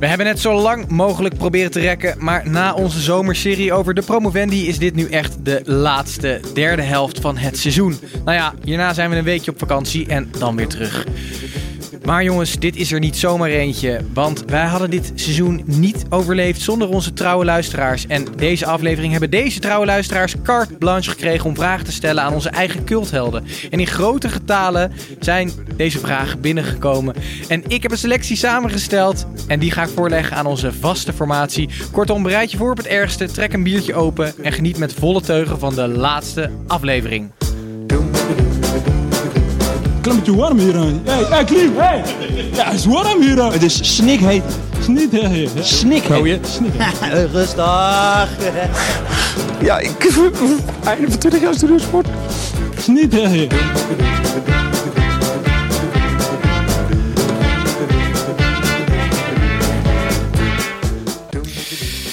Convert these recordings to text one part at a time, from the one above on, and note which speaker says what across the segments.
Speaker 1: We hebben het zo lang mogelijk proberen te rekken, maar na onze zomerserie over de promovendi is dit nu echt de laatste derde helft van het seizoen. Nou ja, hierna zijn we een weekje op vakantie en dan weer terug. Maar jongens, dit is er niet zomaar eentje, want wij hadden dit seizoen niet overleefd zonder onze trouwe luisteraars. En deze aflevering hebben deze trouwe luisteraars carte blanche gekregen om vragen te stellen aan onze eigen culthelden. En in grote getalen zijn deze vragen binnengekomen. En ik heb een selectie samengesteld en die ga ik voorleggen aan onze vaste formatie. Kortom, bereid je voor op het ergste, trek een biertje open en geniet met volle teugen van de laatste aflevering.
Speaker 2: Klemmetje warm hier aan. Hey, hey, Klim, hey! Ja, het is warm hier aan.
Speaker 3: Het is snikheet.
Speaker 2: Sneed, hè, hè, hè.
Speaker 3: Snikheet.
Speaker 4: Rustig.
Speaker 5: Ja, ik. Einde van 20 jaar studeersport.
Speaker 2: Sneed, hè, hè.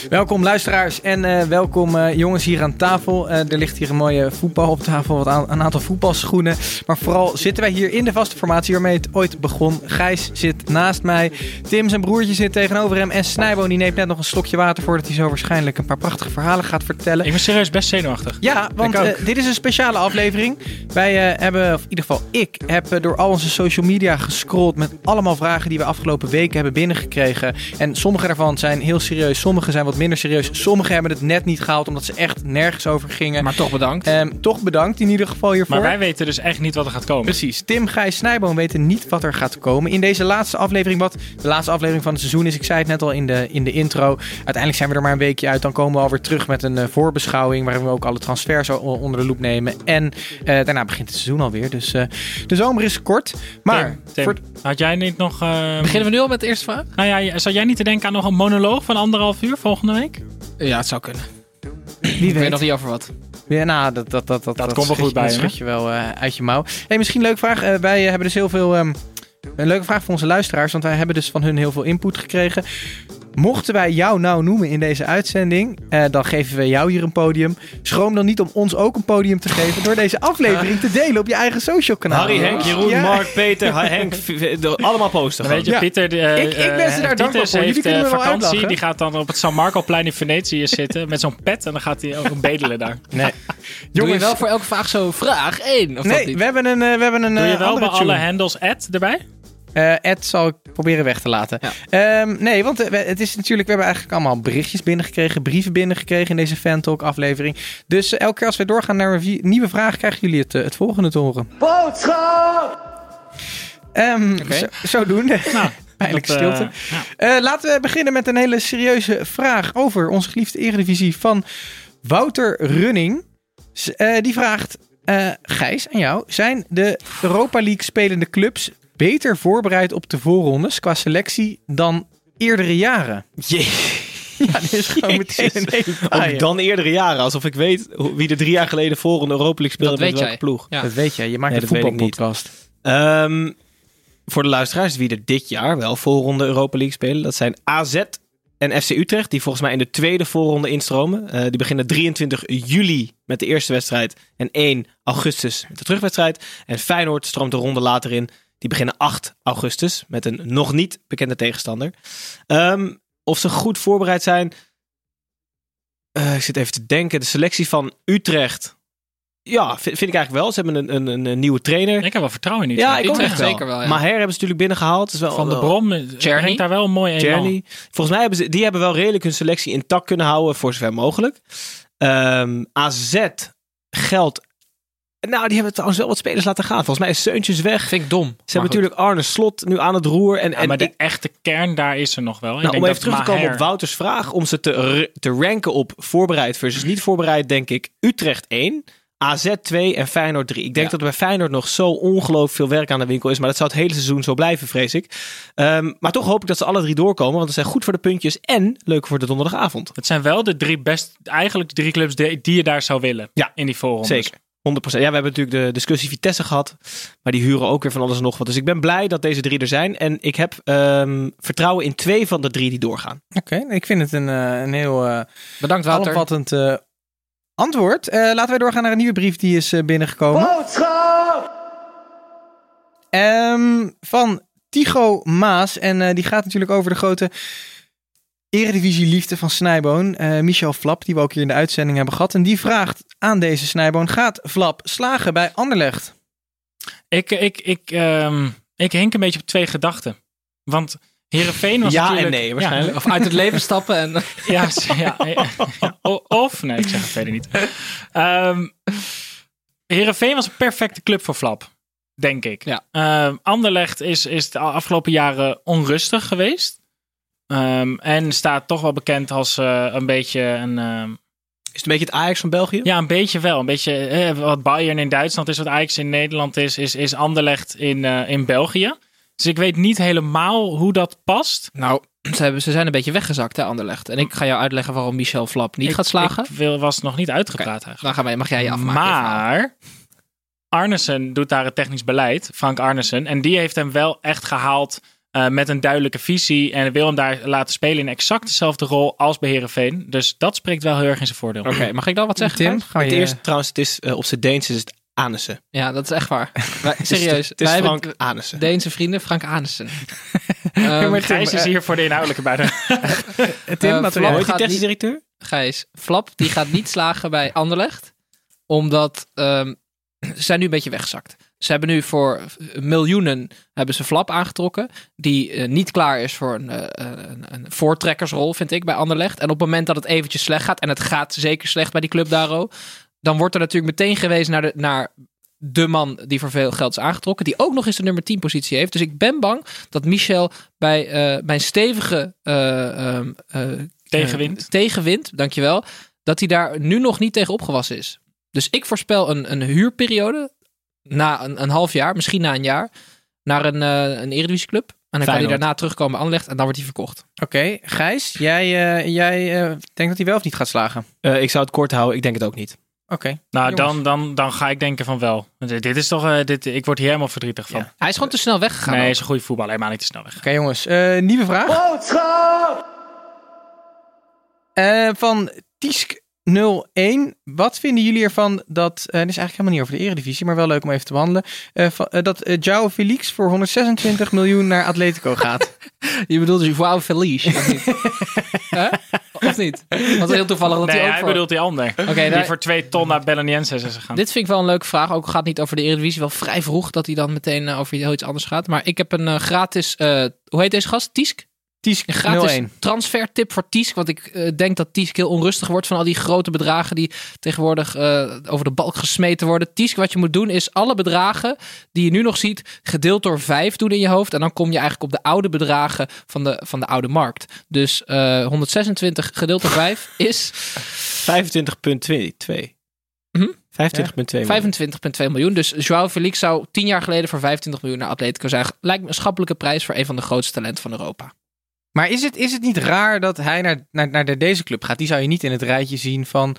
Speaker 1: Welkom luisteraars en eh, welkom eh, jongens hier aan tafel. Eh, er ligt hier een mooie voetbal op tafel, wat aan, een aantal voetbalschoenen. Maar vooral zitten wij hier in de vaste formatie waarmee het ooit begon. Gijs zit naast mij, Tim zijn broertje zit tegenover hem en Snijbo die neemt net nog een slokje water voordat hij zo waarschijnlijk een paar prachtige verhalen gaat vertellen.
Speaker 6: Ik ben serieus best zenuwachtig.
Speaker 1: Ja, want
Speaker 6: Ik ook.
Speaker 1: eh, dit is een speciale aflevering. Wij eh, hebben, of in ieder geval ik, heb eh, door al onze social media gescrolld met allemaal vragen die we afgelopen weken hebben binnengekregen. En sommige daarvan zijn heel serieus, sommige zijn wat minder serieus. Sommige hebben het net niet gehaald omdat ze echt nergens over gingen.
Speaker 6: Maar toch bedankt.
Speaker 1: Ehm, toch bedankt in ieder geval hiervoor.
Speaker 6: maar wij weten dus echt niet wat er gaat komen.
Speaker 1: Precies. Tim, Gijs, Snijboom weten niet wat er gaat komen. In deze laatste aflevering, wat de laatste aflevering van het seizoen is. Ik zei het net al in de, in de intro. Uiteindelijk zijn we er maar een weekje uit. Dan komen we alweer terug met een eh, voorbeschouwing. Waarin we ook alle transfers o- onder de loep nemen. En eh, daarna begint het seizoen alweer. Dus eh, de zomer is kort. Maar
Speaker 6: Tim, Tim,
Speaker 1: voor-
Speaker 6: had jij niet nog... eh,
Speaker 7: Beginnen we nu al met de eerste vraag?
Speaker 6: Nou ja, zou jij niet te denken aan nog een monoloog van anderhalf uur volgende week?
Speaker 7: Ja, het zou kunnen.
Speaker 1: wie
Speaker 7: Ik weet
Speaker 1: weet.
Speaker 7: nog niet over wat.
Speaker 1: Ja, nou, dat, dat, dat, dat, dat,
Speaker 6: komt wel
Speaker 1: schud-
Speaker 6: goed bij
Speaker 1: dat
Speaker 6: hem,
Speaker 1: schud je wel eh, uit je mouw. Hey, misschien een leuke vraag. Eh, wij eh, hebben dus heel veel... ehm, een leuke vraag voor onze luisteraars, want wij hebben dus van hun heel veel input gekregen. Mochten wij jou nou noemen in deze uitzending, eh, dan geven we jou hier een podium. Schroom dan niet om ons ook een podium te geven door deze aflevering te delen op je eigen social kanaal.
Speaker 8: Harry, Henk, Jeroen,
Speaker 1: Ja.
Speaker 8: Mark, Peter, Ha- Henk, v- v- de- allemaal posten.
Speaker 6: Dan weet je,
Speaker 1: Ja.
Speaker 6: Pieter... de, eh,
Speaker 1: Ik- ik ben ze daar dankbaar
Speaker 6: eh, Titus
Speaker 1: voor. Jullie
Speaker 6: heeft,
Speaker 1: kunnen
Speaker 6: eh,
Speaker 1: me wel
Speaker 6: vakantie,
Speaker 1: uitlachen.
Speaker 6: die gaat dan op het San Marcoplein in Venetië zitten met zo'n pet. En dan gaat hij ook bedelen daar.
Speaker 1: Nee.
Speaker 7: Doe je
Speaker 1: Jongens,
Speaker 7: wel voor elke vraag zo vraag één? Of dat
Speaker 1: Dus- nee,
Speaker 7: niet?
Speaker 1: we hebben een, eh, we hebben een
Speaker 6: Doe je
Speaker 1: eh,
Speaker 6: wel
Speaker 1: andere
Speaker 6: bij alle
Speaker 1: tune.
Speaker 6: handles ad erbij?
Speaker 1: Eh, Ed zal ik proberen weg te laten. Ehm, nee, want eh, we- het is natuurlijk, we hebben eigenlijk allemaal berichtjes binnengekregen, brieven binnengekregen in deze Fan Talk aflevering. Dus eh, elke keer als wij doorgaan naar een vi- nieuwe vraag, krijgen jullie het, eh, het volgende te horen. Boodschap! zo, zodoende.
Speaker 6: Nou,
Speaker 1: Pijnlijke
Speaker 6: dat, eh,
Speaker 1: stilte. Eh, laten we beginnen met een hele serieuze vraag over onze geliefde Eredivisie van Wouter Running. Z- eh, die vraagt, eh, Gijs, aan jou. Zijn de Europa League spelende clubs beter voorbereid op de voorrondes qua selectie dan eerdere jaren? Ja, dit is gewoon meteen een hele
Speaker 8: Of
Speaker 1: taaie.
Speaker 8: dan eerdere jaren, alsof ik weet hoe- wie er drie jaar geleden voor een Europa League speelde
Speaker 7: Dat
Speaker 8: met
Speaker 7: weet
Speaker 8: welke
Speaker 7: jij.
Speaker 8: ploeg.
Speaker 7: Ja.
Speaker 1: Dat weet je, je maakt
Speaker 8: Nee,
Speaker 1: een
Speaker 8: dat weet ik niet.
Speaker 1: voetbalpodcast.
Speaker 8: Ehm, voor de luisteraars wie er dit jaar wel voorronde Europa League spelen, dat zijn AZ en FC Utrecht, die volgens mij in de tweede voorronde instromen. Eh, die beginnen 23 juli met de eerste wedstrijd en 1 augustus met de terugwedstrijd. En Feyenoord stroomt de ronde later in. Die beginnen 8 augustus met een nog niet bekende tegenstander. Ehm, of ze goed voorbereid zijn. Eh, ik zit even te denken. De selectie van Utrecht. Ja, vind, vind ik eigenlijk wel. Ze hebben een, een, een, een nieuwe trainer.
Speaker 6: Ik heb wel vertrouwen in u.
Speaker 8: Ja, ik ook
Speaker 7: Utrecht
Speaker 8: echt wel.
Speaker 7: zeker wel, ja.
Speaker 8: Maher hebben ze natuurlijk binnengehaald. Het Is wel,
Speaker 6: Van de
Speaker 8: wel-
Speaker 6: Brom eh,
Speaker 7: Tjerny?
Speaker 6: brengt daar wel een mooi elan.
Speaker 8: Tierney. Volgens mij hebben ze, die hebben wel redelijk hun selectie intact kunnen houden voor zover mogelijk. Ehm, AZ geldt. Nou, die hebben trouwens wel wat spelers laten gaan. Volgens mij is Seuntjes weg. Ze
Speaker 7: vind ik dom.
Speaker 8: hebben natuurlijk Arne Slot nu aan het roer. En,
Speaker 6: Ja,
Speaker 8: en
Speaker 6: maar de
Speaker 8: ik-
Speaker 6: echte kern daar is er nog wel. Ik
Speaker 8: nou,
Speaker 6: denk
Speaker 8: om even
Speaker 6: dat
Speaker 8: terug te komen
Speaker 6: Maher-
Speaker 8: op Wouters vraag, om ze te, r- te ranken op voorbereid versus niet voorbereid, denk ik Utrecht 1, AZ 2 en Feyenoord 3. Ik denk dat er bij Feyenoord nog zo ongelooflijk veel werk aan de winkel is. Maar dat zou het hele seizoen zo blijven, vrees ik. Ehm, maar toch hoop ik dat ze alle drie doorkomen. Want het zijn goed voor de puntjes en leuk voor de donderdagavond.
Speaker 6: Het zijn wel de drie best, eigenlijk de drie clubs die, die je daar zou willen.
Speaker 8: Ja,
Speaker 6: in die voorrondes.
Speaker 8: Zeker. 100%. Ja, we hebben natuurlijk de discussie Vitesse gehad. Maar die huren ook weer van alles en nog wat. Dus ik ben blij dat deze drie er zijn. En ik heb ehm, vertrouwen in twee van de drie die doorgaan.
Speaker 1: Oké, ik vind het een, eh, een heel eh,
Speaker 7: Bedankt Wouter.
Speaker 1: alomvattend eh, antwoord. Eh, laten wij doorgaan naar een nieuwe brief die is eh, binnengekomen. Ehm, van Tigo Maas. En eh, die gaat natuurlijk over de grote Eredivisie-liefde van Snijboon. Eh, Michel Flap, die we ook hier in de uitzending hebben gehad. En die vraagt aan deze Snijboon: gaat Flap slagen bij Anderlecht?
Speaker 6: Ik, ik, ik, ehm, ik hink een beetje op twee gedachten. Want Heerenveen was
Speaker 8: Ja en
Speaker 6: natuurlijk...
Speaker 8: nee, waarschijnlijk.
Speaker 6: Ja,
Speaker 7: Of uit het leven stappen en
Speaker 6: Ja, s- ja, ja, ja. O- Of, nee, ik zeg het verder niet. Ehm Heerenveen was een perfecte club voor Flap, denk ik.
Speaker 7: Ja.
Speaker 6: Ehm, Anderlecht is, is de afgelopen jaren onrustig geweest. Ehm, en staat toch wel bekend als eh, een beetje een... ehm,
Speaker 8: Is het een beetje het Ajax van België?
Speaker 6: ja, een beetje wel. Een beetje eh, wat Bayern in Duitsland is, wat Ajax in Nederland is, is, is Anderlecht in, eh, in België. Dus ik weet niet helemaal hoe dat past.
Speaker 7: Nou, ze, hebben, ze zijn een beetje weggezakt, hè, Anderlecht. En ik ga jou uitleggen waarom Michel Flap niet
Speaker 6: Ik-
Speaker 7: gaat slagen.
Speaker 6: Ik wil, was nog niet uitgepraat eigenlijk.
Speaker 7: Dan gaan wij, mag jij je afmaken.
Speaker 6: Maar Arnesen doet daar het technisch beleid, Frank Arnesen. En die heeft hem wel echt gehaald eh, met een duidelijke visie. En wil hem daar laten spelen in exact dezelfde rol als bij Herenveen. Dus dat spreekt wel heel erg in zijn voordeel.
Speaker 7: Oké, mag ik dan wat zeggen?
Speaker 1: Tim,
Speaker 7: Gijs?
Speaker 1: ga je...
Speaker 8: Het eerste trouwens, het is eh, op zijn Deens is het Anissen.
Speaker 7: Ja, dat is echt waar.
Speaker 8: Het
Speaker 7: Serieus.
Speaker 8: is, het is
Speaker 7: wij hebben
Speaker 8: Frank Anissen.
Speaker 7: Deense vrienden, Frank Anissen.
Speaker 1: Ja, maar
Speaker 7: Ehm
Speaker 6: Gijs
Speaker 1: Tim,
Speaker 6: is
Speaker 1: eh,
Speaker 6: hier voor de inhoudelijke bijdrage.
Speaker 1: Tim,
Speaker 7: eh,
Speaker 1: laten we-
Speaker 7: Flap
Speaker 8: Hoe heet die
Speaker 7: gaat
Speaker 8: technisch
Speaker 7: niet-
Speaker 8: directeur?
Speaker 7: Gijs, Flap die gaat niet slagen bij Anderlecht. Omdat ehm, ze zijn nu een beetje weggezakt. Ze hebben nu voor miljoenen hebben ze Flap aangetrokken. Die eh, niet klaar is voor een, eh, een, een voortrekkersrol, vind ik, bij Anderlecht. En op het moment dat het eventjes slecht gaat, en het gaat zeker slecht bij die club Daro. Dan wordt er natuurlijk meteen gewezen naar de, naar de man die voor veel geld is aangetrokken. Die ook nog eens de nummer 10 positie heeft. Dus ik ben bang dat Michel bij eh, mijn stevige eh, ehm, eh,
Speaker 6: Tegenwind.
Speaker 7: eh, tegenwind, dankjewel. Dat hij daar nu nog niet tegen opgewassen is. Dus ik voorspel een, een huurperiode. Na een, een half jaar, misschien na een jaar. Naar een, eh een eredivisieclub. En dan kan hij
Speaker 8: Feyenoord.
Speaker 7: daarna terugkomen bij Anderlecht. En dan wordt hij verkocht.
Speaker 1: Oké, Gijs, jij, eh, jij eh, denkt dat hij wel of niet gaat slagen?
Speaker 8: Eh, ik zou het kort houden, ik denk het ook niet.
Speaker 1: Oké. Jongens.
Speaker 6: Nou, dan, dan, dan ga ik denken van wel. Want Dit dit is toch, eh, dit, ik word hier helemaal verdrietig van.
Speaker 7: Hij is gewoon te snel weggegaan.
Speaker 6: nee,
Speaker 7: ook.
Speaker 6: is een goede voetballer, helemaal niet te snel weg.
Speaker 1: Oké jongens, eh, nieuwe vraag. Eh, van Tiesk01. Wat vinden jullie ervan dat... eh dit is eigenlijk helemaal niet over de eredivisie, maar wel leuk om even te behandelen. eh, van- eh, dat eh João Felix voor 126 miljoen naar Atletico gaat.
Speaker 7: Je bedoelt dus Joao Feliz. Of niet? Hè? Of niet? Want heel toevallig dat
Speaker 6: Nee,
Speaker 7: hij ook
Speaker 6: hij
Speaker 7: voor...
Speaker 6: bedoelt die ander.
Speaker 7: Oké,
Speaker 6: Die
Speaker 7: daar-
Speaker 6: voor twee ton naar Belenienses is gegaan.
Speaker 7: Dit vind ik wel een leuke vraag. Ook gaat het niet over de Eredivisie. Wel vrij vroeg dat hij dan meteen eh, over heel iets anders gaat. Maar ik heb een eh, gratis... eh, hoe heet deze gast? Tiesk? Een gratis
Speaker 1: Tiesk01.
Speaker 7: transfertip voor Tiesk. Want ik eh, denk dat Tiesk heel onrustig wordt van al die grote bedragen die tegenwoordig eh, over de balk gesmeten worden. Tiesk, wat je moet doen is alle bedragen die je nu nog ziet, gedeeld door vijf doen in je hoofd. En dan kom je eigenlijk op de oude bedragen van de, van de oude markt. Dus eh, 126 gedeeld door 5 is
Speaker 8: 25,2.
Speaker 7: Mhm.
Speaker 8: 25,2.
Speaker 7: 25,2 miljoen. Dus Joao Felix zou 10 jaar geleden voor 25 miljoen naar Atletico zijn. Lijkt me een schappelijke prijs voor een van de grootste talenten van Europa.
Speaker 1: Maar is het, is het niet raar dat hij naar, naar, naar de- deze club gaat? Die zou je niet in het rijtje zien van...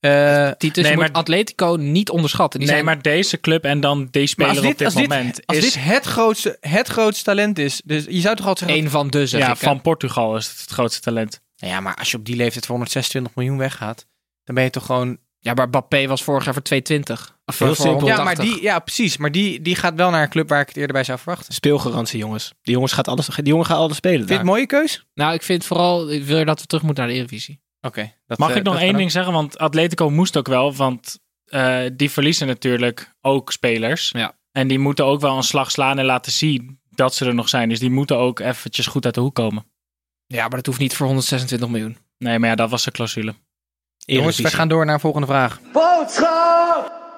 Speaker 1: eh,
Speaker 7: Titus,
Speaker 6: Nee,
Speaker 7: je
Speaker 6: maar-
Speaker 7: moet Atletico niet onderschatten. Die
Speaker 6: nee,
Speaker 7: zijn
Speaker 6: maar deze club en dan die
Speaker 1: maar
Speaker 6: speler
Speaker 1: als dit,
Speaker 6: op dit
Speaker 1: als dit,
Speaker 6: moment
Speaker 1: als
Speaker 6: is...
Speaker 1: dit het, grootste, het grootste talent is... Dus je zou toch altijd zeggen...
Speaker 7: een van de, zeg
Speaker 6: ja,
Speaker 7: ik, hè.
Speaker 6: van Portugal is het het grootste talent.
Speaker 1: Nou ja, maar als je op die leeftijd voor 126 miljoen weggaat... Dan ben je toch gewoon
Speaker 7: Ja, maar Bappé was vorig jaar voor 220. Of
Speaker 8: Heel
Speaker 7: voor
Speaker 8: simpel.
Speaker 1: Ja, maar
Speaker 7: 180.
Speaker 1: die, ja, precies. Maar die, die gaat wel naar een club waar ik het eerder bij zou verwachten.
Speaker 8: Speelgarantie, jongens. Die, jongens gaat alles, die jongen gaat alles spelen
Speaker 1: Vind je
Speaker 8: daar.
Speaker 1: het een mooie keus?
Speaker 7: Nou, ik vind vooral, ik wil dat we terug moeten naar de Eredivisie.
Speaker 1: Oké. dat,
Speaker 6: Mag
Speaker 1: eh,
Speaker 6: ik nog
Speaker 1: dat
Speaker 6: één
Speaker 1: kan
Speaker 6: ding zeggen? Want Atletico moest ook wel, want eh, die verliezen natuurlijk ook spelers.
Speaker 7: Ja.
Speaker 6: En die moeten ook wel een slag slaan en laten zien dat ze er nog zijn. Dus die moeten ook eventjes goed uit de hoek komen.
Speaker 7: Ja, maar dat hoeft niet voor 126 miljoen.
Speaker 6: Nee, maar ja, dat was de clausule.
Speaker 1: ook. Jongens, we
Speaker 8: Eredivisie.
Speaker 1: gaan door naar een volgende vraag.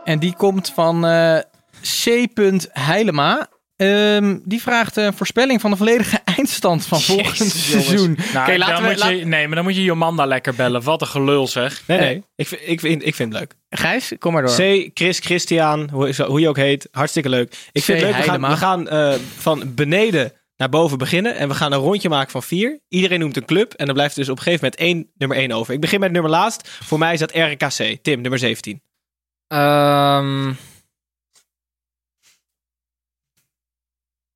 Speaker 1: En die komt van eh C. Heilema. Ehm, die vraagt eh, een voorspelling van de volledige eindstand van volgend
Speaker 8: Jezus, jongens.
Speaker 1: seizoen.
Speaker 6: Nou,
Speaker 1: Oké,
Speaker 6: dan
Speaker 1: laten we-
Speaker 6: moet
Speaker 1: laat-
Speaker 6: je, nee, maar dan moet je Jomanda lekker bellen. Wat een gelul zeg.
Speaker 8: Nee, nee. Ik, vind- ik, vind, ik vind het leuk.
Speaker 1: Gijs, kom maar door.
Speaker 8: C, Chris, Christian, hoe, zo- hoe je ook heet. Hartstikke leuk. Ik
Speaker 1: C,
Speaker 8: vind het leuk. We gaan,
Speaker 1: Heidema.
Speaker 8: we gaan eh, van beneden naar boven beginnen. En we gaan een rondje maken van vier. Iedereen noemt een club. En dan blijft er dus op een gegeven moment één nummer één over. Ik begin met nummer laatst. Voor mij is dat RKC. Tim, nummer 17.
Speaker 7: Ehm.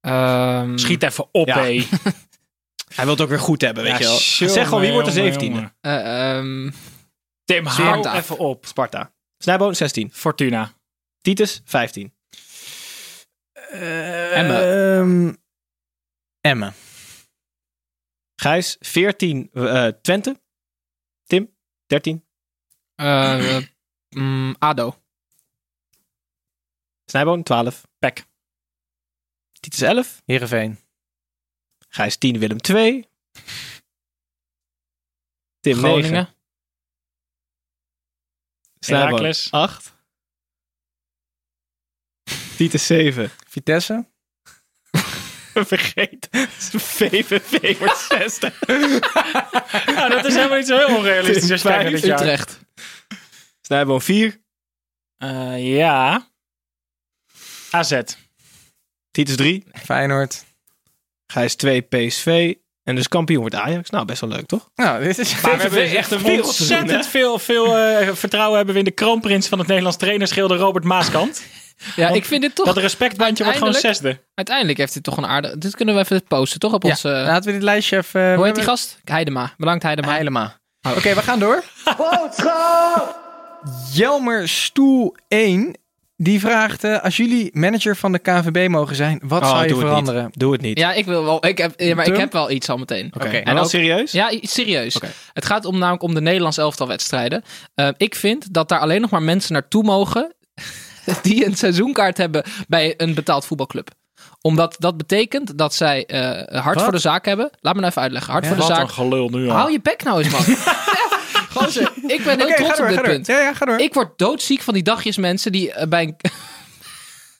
Speaker 7: Ehm,
Speaker 6: Schiet even op,
Speaker 8: Ja,
Speaker 6: hé.
Speaker 8: Hij wil het ook weer goed hebben, weet
Speaker 6: Ja,
Speaker 8: je wel.
Speaker 6: jongen,
Speaker 8: zeg gewoon, wie wordt de
Speaker 6: jongen,
Speaker 8: 17e?
Speaker 6: jongen.
Speaker 7: eh, ehm,
Speaker 6: Tim, hou
Speaker 7: Sparta.
Speaker 6: even op.
Speaker 8: Sparta. Snijboon, 16.
Speaker 6: Fortuna.
Speaker 8: Titus, 15.
Speaker 1: Emme. Emme.
Speaker 8: Gijs, 14. eh, Twente. Tim, 13.
Speaker 7: eh, eh, mm, Ado.
Speaker 8: Snijboon, 12.
Speaker 6: Pek.
Speaker 8: Titus, 11.
Speaker 1: Heerenveen.
Speaker 8: Gijs, 10. Willem, 2. Tim,
Speaker 7: Groningen.
Speaker 8: 9.
Speaker 6: Heracles.
Speaker 8: 8. Titus, 7.
Speaker 1: Vitesse.
Speaker 8: Vergeet. VVV wordt 60.
Speaker 6: Nou, dat is helemaal niet zo heel onrealistisch als je kijkt naar dit jaar.
Speaker 7: Utrecht.
Speaker 8: Snijboon, 4.
Speaker 6: Eh, ja. AZ.
Speaker 8: Titus, 3.
Speaker 1: Feyenoord.
Speaker 8: Gijs, 2. PSV. En dus kampioen wordt Ajax. Nou, best wel leuk, toch?
Speaker 1: Nou, dit is...
Speaker 6: Maar we hebben echt
Speaker 8: veel te doen,
Speaker 6: ontzettend
Speaker 8: hè?
Speaker 6: veel, veel eh, vertrouwen hebben we in de kroonprins van het Nederlands trainerschilder Robert Maaskant.
Speaker 7: Ja,
Speaker 6: Want
Speaker 7: ik vind dit toch...
Speaker 6: Dat respectbandje wordt gewoon zesde.
Speaker 7: Uiteindelijk heeft dit toch een aardig... Dit kunnen we even posten, toch? Op
Speaker 1: Ja,
Speaker 7: onze...
Speaker 1: laten we dit lijstje even... eh,
Speaker 7: hoe
Speaker 1: we
Speaker 7: heet die
Speaker 1: hebben-
Speaker 7: gast? Oh. Heidema. Bedankt, Heidema.
Speaker 1: Heilema. Oké, we gaan door. Jelmer Stoel 1, die vraagt... eh, als jullie manager van de KVB mogen zijn, wat
Speaker 8: Oh,
Speaker 1: zou je
Speaker 8: doe het
Speaker 1: veranderen?
Speaker 8: niet. Doe het niet.
Speaker 7: Ja, ik wil wel... Ik heb, ja, maar ik
Speaker 1: Tim?
Speaker 7: heb wel iets al meteen.
Speaker 8: Oké,
Speaker 1: Oké.
Speaker 8: maar wel
Speaker 7: En ook-
Speaker 8: serieus?
Speaker 7: Ja, i- serieus.
Speaker 8: Oké.
Speaker 7: Het gaat om, namelijk om de Nederlands elftal wedstrijden. Eh, ik vind dat daar alleen nog maar mensen naartoe mogen die een seizoenkaart hebben bij een betaald voetbalclub. Omdat dat betekent dat zij eh, hard
Speaker 1: Wat?
Speaker 7: voor de zaak hebben. Laat me nou even uitleggen. Hard voor de
Speaker 6: Wat
Speaker 7: zaak.
Speaker 6: een gelul nu al.
Speaker 7: Hou je bek nou eens, man. Gozer, ik ben heel
Speaker 1: Oké,
Speaker 7: trots
Speaker 1: ga door,
Speaker 7: op dit
Speaker 1: ga door.
Speaker 7: punt.
Speaker 1: Ja, ja, ga door.
Speaker 7: Ik word doodziek van die dagjes mensen die eh, bij een...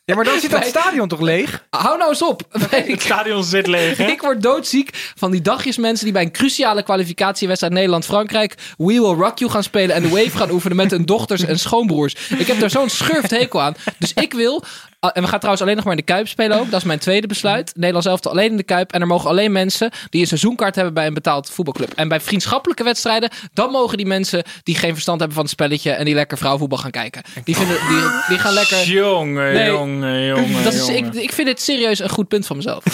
Speaker 1: Ja, maar dan zit dat
Speaker 7: Wij-
Speaker 1: stadion toch leeg?
Speaker 7: Hou nou eens op. Bij een
Speaker 6: Het stadion zit leeg, hè?
Speaker 7: Ik word doodziek van die dagjes mensen die bij een cruciale kwalificatiewedstrijd Nederland-Frankrijk We Will Rock You gaan spelen en de Wave gaan oefenen met hun dochters en schoonbroers. Ik heb daar zo'n schurft hekel aan. Dus ik wil, ah, en we gaan trouwens alleen nog maar in de Kuip spelen ook, dat is mijn tweede besluit. Nederlands elftal alleen in de Kuip en er mogen alleen mensen die een seizoenkaart hebben bij een betaald voetbalclub. En bij vriendschappelijke wedstrijden, dan mogen die mensen die geen verstand hebben van het spelletje en die lekker vrouwvoetbal gaan kijken. Die, vinden, die, die gaan lekker...
Speaker 6: Jongen,
Speaker 7: Nee.
Speaker 6: jongen, jongen.
Speaker 7: Dat is,
Speaker 6: jongen.
Speaker 7: ik, ik vind dit serieus een goed punt van mezelf.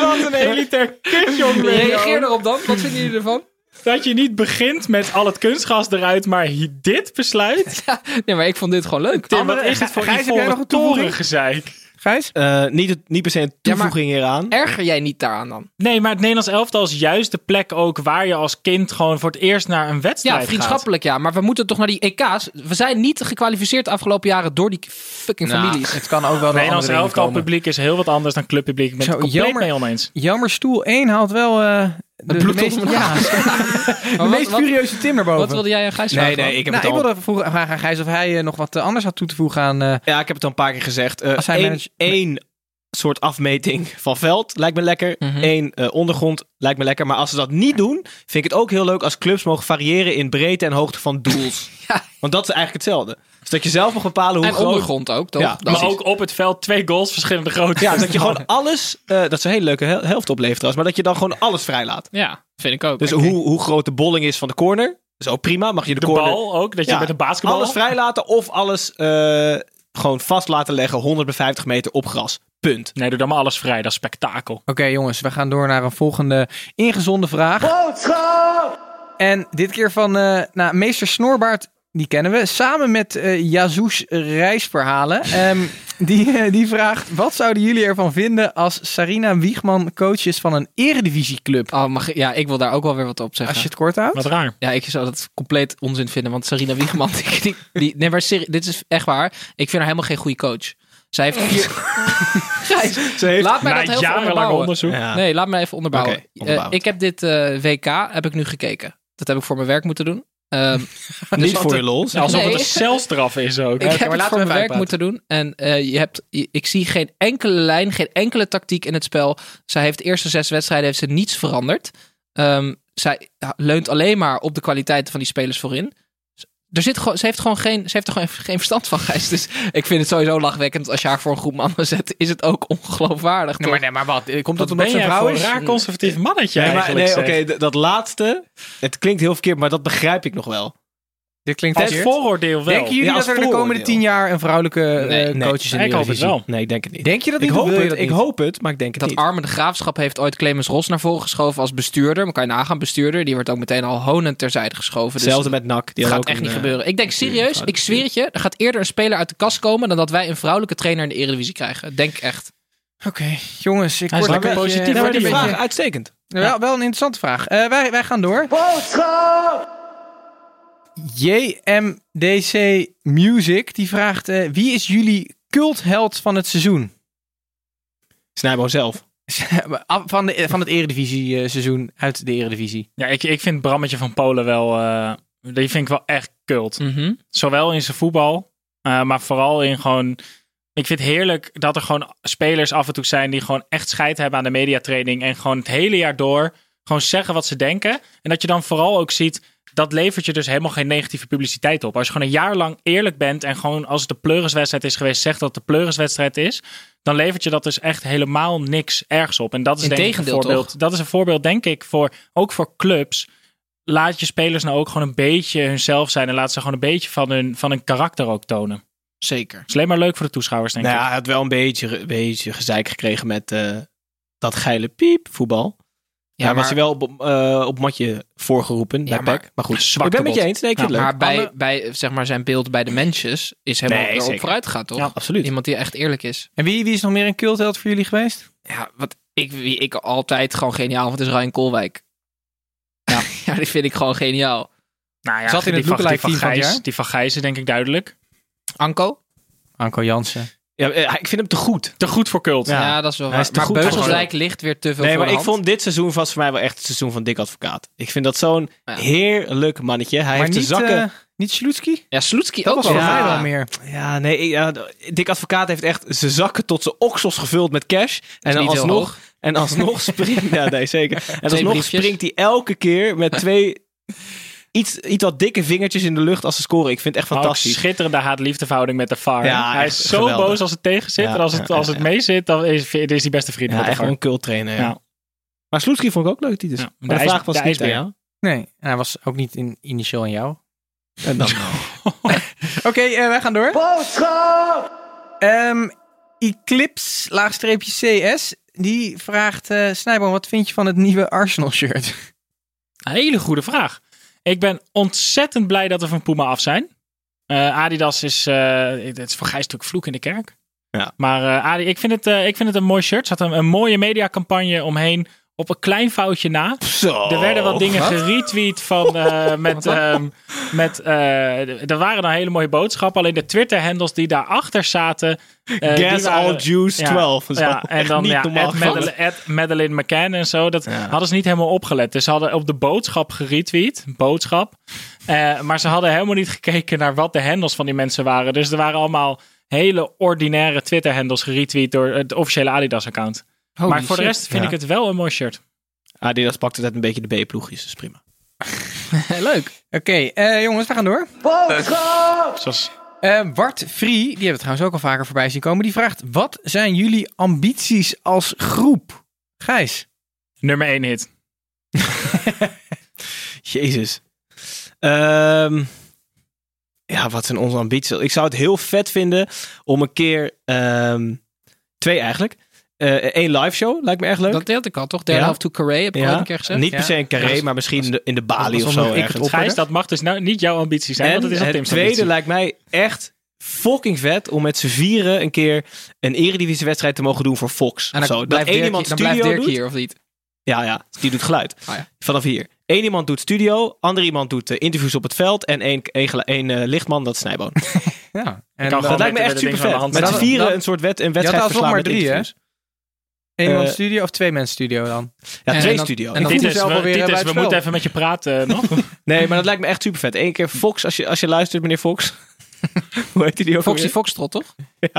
Speaker 6: Wat een elitair kut,
Speaker 7: Reageer erop dan. Wat vinden jullie ervan?
Speaker 6: Dat je niet begint met al het kunstgas eruit, maar hi- dit besluit.
Speaker 7: Nee, maar ik vond dit gewoon leuk.
Speaker 6: Tim, wat is
Speaker 1: Ga-
Speaker 6: het voor
Speaker 1: Gijs, heb jij nog
Speaker 6: ivoren
Speaker 1: een toevoeging?
Speaker 6: toren gezeik?
Speaker 1: Gijs?
Speaker 8: Eh, niet, het- niet per se een
Speaker 7: Ja, maar-
Speaker 8: toevoeging hieraan.
Speaker 7: Erger jij niet daaraan dan?
Speaker 6: Nee, maar het Nederlands elftal is juist de plek ook waar je als kind gewoon voor het eerst naar een wedstrijd
Speaker 7: Ja,
Speaker 6: gaat.
Speaker 7: vriendschappelijk ja. Maar we moeten toch naar die EK's. We zijn niet gekwalificeerd de afgelopen jaren door die fucking families.
Speaker 1: het kan ook wel door
Speaker 6: Nederlands
Speaker 1: andere dingen
Speaker 6: elftal
Speaker 1: komen.
Speaker 6: publiek is heel wat anders dan clubpubliek. Ik ben
Speaker 1: Zo,
Speaker 6: het compleet
Speaker 1: jammer.
Speaker 6: mee oneens.
Speaker 1: Jammer Stoel 1 haalt wel eh de, de,
Speaker 7: bloed tot
Speaker 1: meest,
Speaker 7: omlaag.
Speaker 1: ja, de
Speaker 7: Maar wat,
Speaker 1: meest
Speaker 7: wat,
Speaker 1: furieuze Tim erboven.
Speaker 7: wat wilde jij aan Gijs
Speaker 8: Nee,
Speaker 7: vragen?
Speaker 8: nee, ik heb
Speaker 1: nou,
Speaker 8: het
Speaker 1: ik
Speaker 8: al...
Speaker 1: wilde vroegen- vragen aan Gijs of hij eh, nog wat eh, anders had toe te voegen aan... eh,
Speaker 8: Ja, ik heb het al een paar keer gezegd.
Speaker 1: Als
Speaker 8: Eén
Speaker 1: hij manage-
Speaker 8: één soort afmeting van veld lijkt me lekker.
Speaker 7: Mhm.
Speaker 8: Eén eh, ondergrond lijkt me lekker. Maar als ze dat niet doen, vind ik het ook heel leuk als clubs mogen variëren in breedte en hoogte van doels.
Speaker 7: Ja.
Speaker 8: Want dat is eigenlijk hetzelfde. Dus dat je zelf mag bepalen hoe
Speaker 7: En
Speaker 8: groot...
Speaker 7: ondergrond ook, toch?
Speaker 8: Ja,
Speaker 7: Dat
Speaker 6: maar
Speaker 7: is-
Speaker 6: ook op het veld twee goals verschillende grootte.
Speaker 8: Ja, dat je gewoon alles... eh, dat is een hele leuke hel- helft oplevert trouwens. Maar dat je dan gewoon alles vrijlaat.
Speaker 7: ja, vind ik ook.
Speaker 8: Dus hoe, hoe groot de bolling is van de corner, is ook prima. Mag je de,
Speaker 6: de
Speaker 8: corner...
Speaker 6: bal ook, dat je
Speaker 8: Ja,
Speaker 6: met een basketbal...
Speaker 8: Alles vrijlaten of alles eh, gewoon vast laten leggen, 100 bij 50 meter op gras. Punt.
Speaker 6: Nee, doe dan maar alles vrij. Dat is spektakel.
Speaker 1: Oké jongens, we gaan door naar een volgende ingezonde vraag. En dit keer van eh, nou, meester Snorbaard, die kennen we. Samen met eh Yazoo's reisverhalen. Ehm, die, eh, die vraagt, wat zouden jullie ervan vinden als Sarina Wiegman coach is van een eredivisieclub?
Speaker 7: Oh, mag ik- ja, ik wil daar ook wel weer wat op zeggen.
Speaker 1: Als je het kort houdt.
Speaker 6: Wat raar.
Speaker 7: Ja, ik zou dat compleet onzin vinden. Want Sarina Wiegman, die, die- die- nee, maar serie- dit is echt waar. Ik vind haar helemaal geen goede coach. Zij heeft vier... Gijs,
Speaker 8: Ze heeft...
Speaker 7: laat mij
Speaker 6: Na
Speaker 7: dat heel veel
Speaker 6: jarenlang
Speaker 7: onderbouwen.
Speaker 6: onderzoek.
Speaker 8: Ja.
Speaker 7: Nee, laat me even onderbouwen.
Speaker 8: Oké, Ah. onderbouwend.
Speaker 7: Eh, ik heb dit eh, WK heb ik nu gekeken. Dat heb ik voor mijn werk moeten doen. Ehm,
Speaker 8: Niet voor je lol.
Speaker 6: Alsof
Speaker 7: Nee.
Speaker 6: het een celstraf is ook.
Speaker 7: ik
Speaker 8: oké,
Speaker 7: heb
Speaker 8: maar
Speaker 7: het
Speaker 8: laten
Speaker 7: voor
Speaker 8: we
Speaker 7: mijn
Speaker 8: even
Speaker 7: werk
Speaker 8: uitpraten.
Speaker 7: moeten doen. En eh, je hebt, je- ik zie geen enkele lijn, geen enkele tactiek in het spel. Zij heeft de eerste zes wedstrijden heeft ze niets veranderd. Ehm, zij leunt alleen maar op de kwaliteiten van die spelers voorin. Er zit gewoon, ze heeft, gewoon geen, ze heeft er gewoon geen verstand van, Gijs. Dus ik vind het sowieso lachwekkend. Als je haar voor een groep mannen zet, is het ook ongeloofwaardig.
Speaker 1: Nee,
Speaker 7: toch?
Speaker 1: maar, nee, maar wat? eh, Komt
Speaker 6: Dat
Speaker 1: dat omdat
Speaker 6: ben
Speaker 1: ze een
Speaker 6: jij
Speaker 1: vrouw
Speaker 6: voor een
Speaker 1: is?
Speaker 6: raar conservatief mannetje
Speaker 8: Nee, maar,
Speaker 6: eigenlijk.
Speaker 8: nee oké,
Speaker 6: zeg.
Speaker 8: d- dat laatste. Het klinkt heel verkeerd, maar dat begrijp ik nog wel.
Speaker 1: Dit klinkt
Speaker 6: Als
Speaker 1: verkeerd.
Speaker 6: vooroordeel wel.
Speaker 1: Denken jullie
Speaker 8: Ja, als
Speaker 1: dat er de komende
Speaker 8: vooroordeel.
Speaker 1: tien jaar een vrouwelijke eh,
Speaker 8: Nee, nee.
Speaker 1: coach is in de
Speaker 6: Ik hoop het
Speaker 1: Eredivisie?
Speaker 6: wel.
Speaker 8: Nee, ik denk het niet.
Speaker 1: Denk je dat
Speaker 8: ik
Speaker 1: niet? Of
Speaker 8: hoop
Speaker 1: wil je
Speaker 8: het,
Speaker 1: dat
Speaker 8: ik
Speaker 1: niet?
Speaker 8: hoop het, maar ik denk het
Speaker 7: Dat
Speaker 8: niet.
Speaker 7: Arme de Graafschap heeft ooit Clemens Ros naar voren geschoven als bestuurder. Maar kan je nagaan, bestuurder. Die wordt ook meteen al honend terzijde geschoven. Dus
Speaker 8: Hetzelfde met NAC. Die
Speaker 7: het gaat
Speaker 8: hadden
Speaker 7: echt
Speaker 8: ook
Speaker 7: niet
Speaker 8: een, eh,
Speaker 7: gebeuren. Ik denk serieus,
Speaker 8: natuurlijk,
Speaker 7: ik zweer het je. Er gaat eerder een speler uit de kast komen dan dat wij een vrouwelijke trainer in de Eredivisie krijgen. Denk echt.
Speaker 1: Oké, jongens, ik
Speaker 6: Hij is
Speaker 1: word
Speaker 6: lekker
Speaker 1: een beetje-
Speaker 6: positief,
Speaker 1: Nee, maar
Speaker 6: hoor,
Speaker 1: die
Speaker 6: die
Speaker 1: vraag-
Speaker 8: vraag, uitstekend.
Speaker 1: Wel, wel een interessante vraag. Eh, wij, wij gaan door. JMDC Music die vraagt: eh, wie is jullie cultheld van het seizoen?
Speaker 8: Snijbo zelf.
Speaker 1: Af- Ah, van, de, van het Eredivisie eh, seizoen uit de Eredivisie.
Speaker 6: Ja, ik, ik vind Brammetje van Polen wel... eh, die vind ik wel echt kult. Zowel in zijn voetbal, eh, maar vooral in gewoon... Ik vind het heerlijk dat er gewoon spelers af en toe zijn die gewoon echt scheid hebben aan de mediatraining. En gewoon het hele jaar door gewoon zeggen wat ze denken. En dat je dan vooral ook ziet, dat levert je dus helemaal geen negatieve publiciteit op. Als je gewoon een jaar lang eerlijk bent en gewoon als het de pleuriswedstrijd is geweest, zegt dat het de pleuriswedstrijd is. Dan levert je dat dus echt helemaal niks ergens op. En dat is denk ik een
Speaker 7: Integendeel,
Speaker 6: voorbeeld.
Speaker 7: toch?
Speaker 6: Dat is een voorbeeld, denk ik, voor, ook voor clubs laat je spelers nou ook gewoon een beetje hunzelf zijn. En laat ze gewoon een beetje van hun, van hun karakter ook tonen. Het
Speaker 7: Zeker.
Speaker 6: is alleen maar leuk voor de toeschouwers, denk
Speaker 8: Nou ja,
Speaker 6: ik.
Speaker 8: hij had wel een beetje, een beetje gezeik gekregen met eh, dat geile piep voetbal. Ja, was hij wel op, eh, op matje voorgeroepen
Speaker 7: Ja,
Speaker 8: bij
Speaker 7: maar-
Speaker 8: PEC. Maar goed, Nou,
Speaker 6: Zwak
Speaker 8: ik ben
Speaker 6: bot.
Speaker 8: met je eens. Nee, ik vind
Speaker 6: Ja,
Speaker 8: het leuk.
Speaker 7: maar bij,
Speaker 6: Alle-
Speaker 7: bij zeg maar, zijn beeld bij de mensjes is helemaal
Speaker 8: Nee,
Speaker 7: erop
Speaker 8: zeker.
Speaker 7: vooruit gegaan, toch?
Speaker 8: Ja, absoluut.
Speaker 7: Iemand die echt eerlijk is.
Speaker 1: En wie, wie is nog meer een cultheld voor jullie geweest?
Speaker 7: Ja, wat ik, wie ik altijd gewoon geniaal vind, is Ryan Koolwijk. Ja. die vind ik gewoon geniaal.
Speaker 6: Nou ja,
Speaker 1: Zat in
Speaker 6: die
Speaker 1: het
Speaker 6: van- die
Speaker 1: lookalike team van het
Speaker 6: Gijs-
Speaker 1: jaar?
Speaker 6: Die van Gijs is denk ik duidelijk.
Speaker 7: Anko?
Speaker 1: Anko Jansen.
Speaker 8: Ja, eh, ik vind hem te goed.
Speaker 6: Te goed voor cult.
Speaker 7: Ja,
Speaker 8: Ja.
Speaker 7: dat is wel
Speaker 8: Hij
Speaker 7: waar.
Speaker 8: is te
Speaker 7: Maar
Speaker 8: goed voor-
Speaker 7: Beugelsdijk ligt weer te veel
Speaker 8: Nee,
Speaker 7: voor
Speaker 8: maar ik
Speaker 7: de hand.
Speaker 8: vond dit seizoen vast voor mij wel echt het seizoen van Dick Advocaat. Ik vind dat zo'n
Speaker 7: Ja.
Speaker 8: heerlijk mannetje. Hij
Speaker 1: maar
Speaker 8: heeft de
Speaker 1: niet,
Speaker 8: zakken...
Speaker 1: eh, niet Sloetski?
Speaker 7: Ja, Sloetski
Speaker 1: Dat
Speaker 7: ook
Speaker 1: was
Speaker 7: wel.
Speaker 1: voor mij
Speaker 7: Ja.
Speaker 1: wel meer.
Speaker 6: eh,
Speaker 8: Ja, nee, ik- ja, d- Dick Advocaat heeft echt zijn zakken tot zijn oksels gevuld met cash. En
Speaker 7: niet heel hoog.
Speaker 8: alsnog, en alsnog springt... ja, nee, zeker. En alsnog
Speaker 7: briefjes.
Speaker 8: springt hij elke keer met twee... Iets, iets wat dikke vingertjes in de lucht als ze scoren. Ik vind het echt
Speaker 6: Maar ook
Speaker 8: fantastisch.
Speaker 6: Oh, schitterende haat-liefdeverhouding met de VAR.
Speaker 8: Ja,
Speaker 6: hij
Speaker 8: echt
Speaker 6: is zo
Speaker 8: geweldig.
Speaker 6: boos als het tegen zit.
Speaker 8: Ja,
Speaker 6: en als het,
Speaker 8: ja,
Speaker 6: als
Speaker 8: ja,
Speaker 6: het
Speaker 8: ja.
Speaker 6: mee zit, dan is, is hij beste vriend
Speaker 8: Ja,
Speaker 6: met de
Speaker 8: echt
Speaker 6: VAR.
Speaker 8: gewoon een culttrainer. Ja.
Speaker 6: Ja.
Speaker 8: Maar Sloetski vond ik ook leuk, Titus.
Speaker 6: Ja,
Speaker 8: Maar
Speaker 6: de
Speaker 8: de,
Speaker 6: ijs-
Speaker 8: vraag was
Speaker 6: de
Speaker 8: niet aan
Speaker 6: ijsbeer.
Speaker 8: jou.
Speaker 1: Nee, en hij was ook niet in, initieel aan jou.
Speaker 8: En dan
Speaker 6: Eh,
Speaker 1: Oké, eh, wij gaan door. Ehm, Eclipse, laagstreepje CS, die vraagt... eh Snijboom, wat vind je van het nieuwe Arsenal-shirt?
Speaker 6: Een hele goede vraag. Ik ben ontzettend blij dat we van Puma af zijn. Eh, Adidas is, eh, het is voor Gijs natuurlijk vloek in de kerk.
Speaker 8: Ja.
Speaker 6: Maar eh, Adi, ik, vind het, eh, ik vind het een mooi shirt. Er zat een, een mooie mediacampagne omheen. Op een klein foutje na.
Speaker 8: Zo.
Speaker 6: Er werden wat dingen geretweet van. eh, met, ehm, met, eh, d- er waren dan hele mooie boodschappen. Alleen de Twitter-handles die daarachter zaten. eh, die
Speaker 8: Gas
Speaker 6: waren-
Speaker 8: all juice
Speaker 6: ja,
Speaker 8: 12. Dat is
Speaker 6: ja,
Speaker 8: wel
Speaker 6: en
Speaker 8: echt
Speaker 6: dan
Speaker 8: niet
Speaker 6: ja,
Speaker 8: normaal
Speaker 6: Ed
Speaker 8: gevallen.
Speaker 6: Madele- Ed Madeleine McCann en zo. Dat
Speaker 8: Ja.
Speaker 6: hadden ze niet helemaal opgelet. Dus ze hadden op de boodschap geretweet. Boodschap. Eh, maar ze hadden helemaal niet gekeken naar wat de handles van die mensen waren. Dus er waren allemaal hele ordinaire Twitter-handles geretweet door het officiële Adidas-account. Maar voor de rest vind
Speaker 8: Ja.
Speaker 6: ik het wel een mooi shirt.
Speaker 8: Adidas pakt het uit een beetje de B-ploegjes, dus prima.
Speaker 7: Leuk.
Speaker 1: Oké, eh, jongens, we gaan door.
Speaker 6: Zoals
Speaker 1: Eh, Bart Vree, die hebben we trouwens ook al vaker voorbij zien komen. Die vraagt, wat zijn jullie ambities als groep? Gijs.
Speaker 6: nummer 1 hit.
Speaker 8: Jezus. Ehm, ja, wat zijn onze ambities? Ik zou het heel vet vinden om een keer... ehm, twee eigenlijk. eh, Eén live show lijkt me echt leuk.
Speaker 7: Dat deelde ik al, toch? Derde
Speaker 8: Ja.
Speaker 7: helft to Carré, heb ik al een keer gezegd.
Speaker 8: Niet
Speaker 1: Ja.
Speaker 8: per se een carré, maar misschien in de, in de
Speaker 1: dat
Speaker 8: balie of
Speaker 1: was
Speaker 8: zo
Speaker 1: omdat ik het
Speaker 8: ergens.
Speaker 1: op-
Speaker 6: Gijs, dat mag dus nou niet jouw ambitie zijn, want
Speaker 8: En
Speaker 6: het is al
Speaker 8: het
Speaker 6: Tim's
Speaker 8: tweede
Speaker 6: ambitie.
Speaker 8: lijkt mij echt fucking vet om met z'n vieren een keer een eredivisiewedstrijd te mogen doen voor Fox.
Speaker 7: En
Speaker 8: of
Speaker 7: dan,
Speaker 8: zo. Dat
Speaker 7: blijft,
Speaker 8: één
Speaker 7: Dirk,
Speaker 8: iemand
Speaker 7: dan blijft
Speaker 8: studio
Speaker 7: Dirk
Speaker 8: doet.
Speaker 7: hier, of niet?
Speaker 8: Ja, ja, die doet geluid.
Speaker 7: Ah, ja.
Speaker 8: Vanaf hier. Eén iemand doet studio, ander iemand doet eh, interviews op het veld en één, één, gelu- één, eh, lichtman, dat is Snijboon.
Speaker 1: Ja, en
Speaker 6: kan
Speaker 1: dan-
Speaker 8: Dat
Speaker 6: gewoon-
Speaker 8: lijkt
Speaker 6: met
Speaker 8: me echt
Speaker 6: de
Speaker 8: super
Speaker 6: dingen van de
Speaker 8: vet.
Speaker 6: hand
Speaker 8: Met z'n
Speaker 1: zetten.
Speaker 8: vieren
Speaker 1: Dan-
Speaker 8: een soort wed, een
Speaker 1: had
Speaker 8: wedstrijd
Speaker 1: alsnog
Speaker 8: verslaan
Speaker 1: maar
Speaker 8: met
Speaker 1: drie, hè?
Speaker 8: interviews.
Speaker 1: dus. Eén man
Speaker 8: Eh,
Speaker 1: studio of twee mensen studio dan?
Speaker 8: Ja,
Speaker 7: En
Speaker 8: twee
Speaker 7: dan-
Speaker 8: studio.
Speaker 7: en dan-
Speaker 1: voelt
Speaker 6: Titus,
Speaker 1: jezelf
Speaker 6: we,
Speaker 1: alweer, eh, bij
Speaker 6: Titus,
Speaker 1: het
Speaker 6: we
Speaker 1: spel.
Speaker 6: moeten even met je praten eh, nog.
Speaker 8: Nee, maar dat lijkt me echt super vet. Eén keer Fox, als je, als je luistert, meneer Fox. Hoe heet hij die ook
Speaker 7: Foxy
Speaker 8: alweer?
Speaker 7: Foxtrot, toch?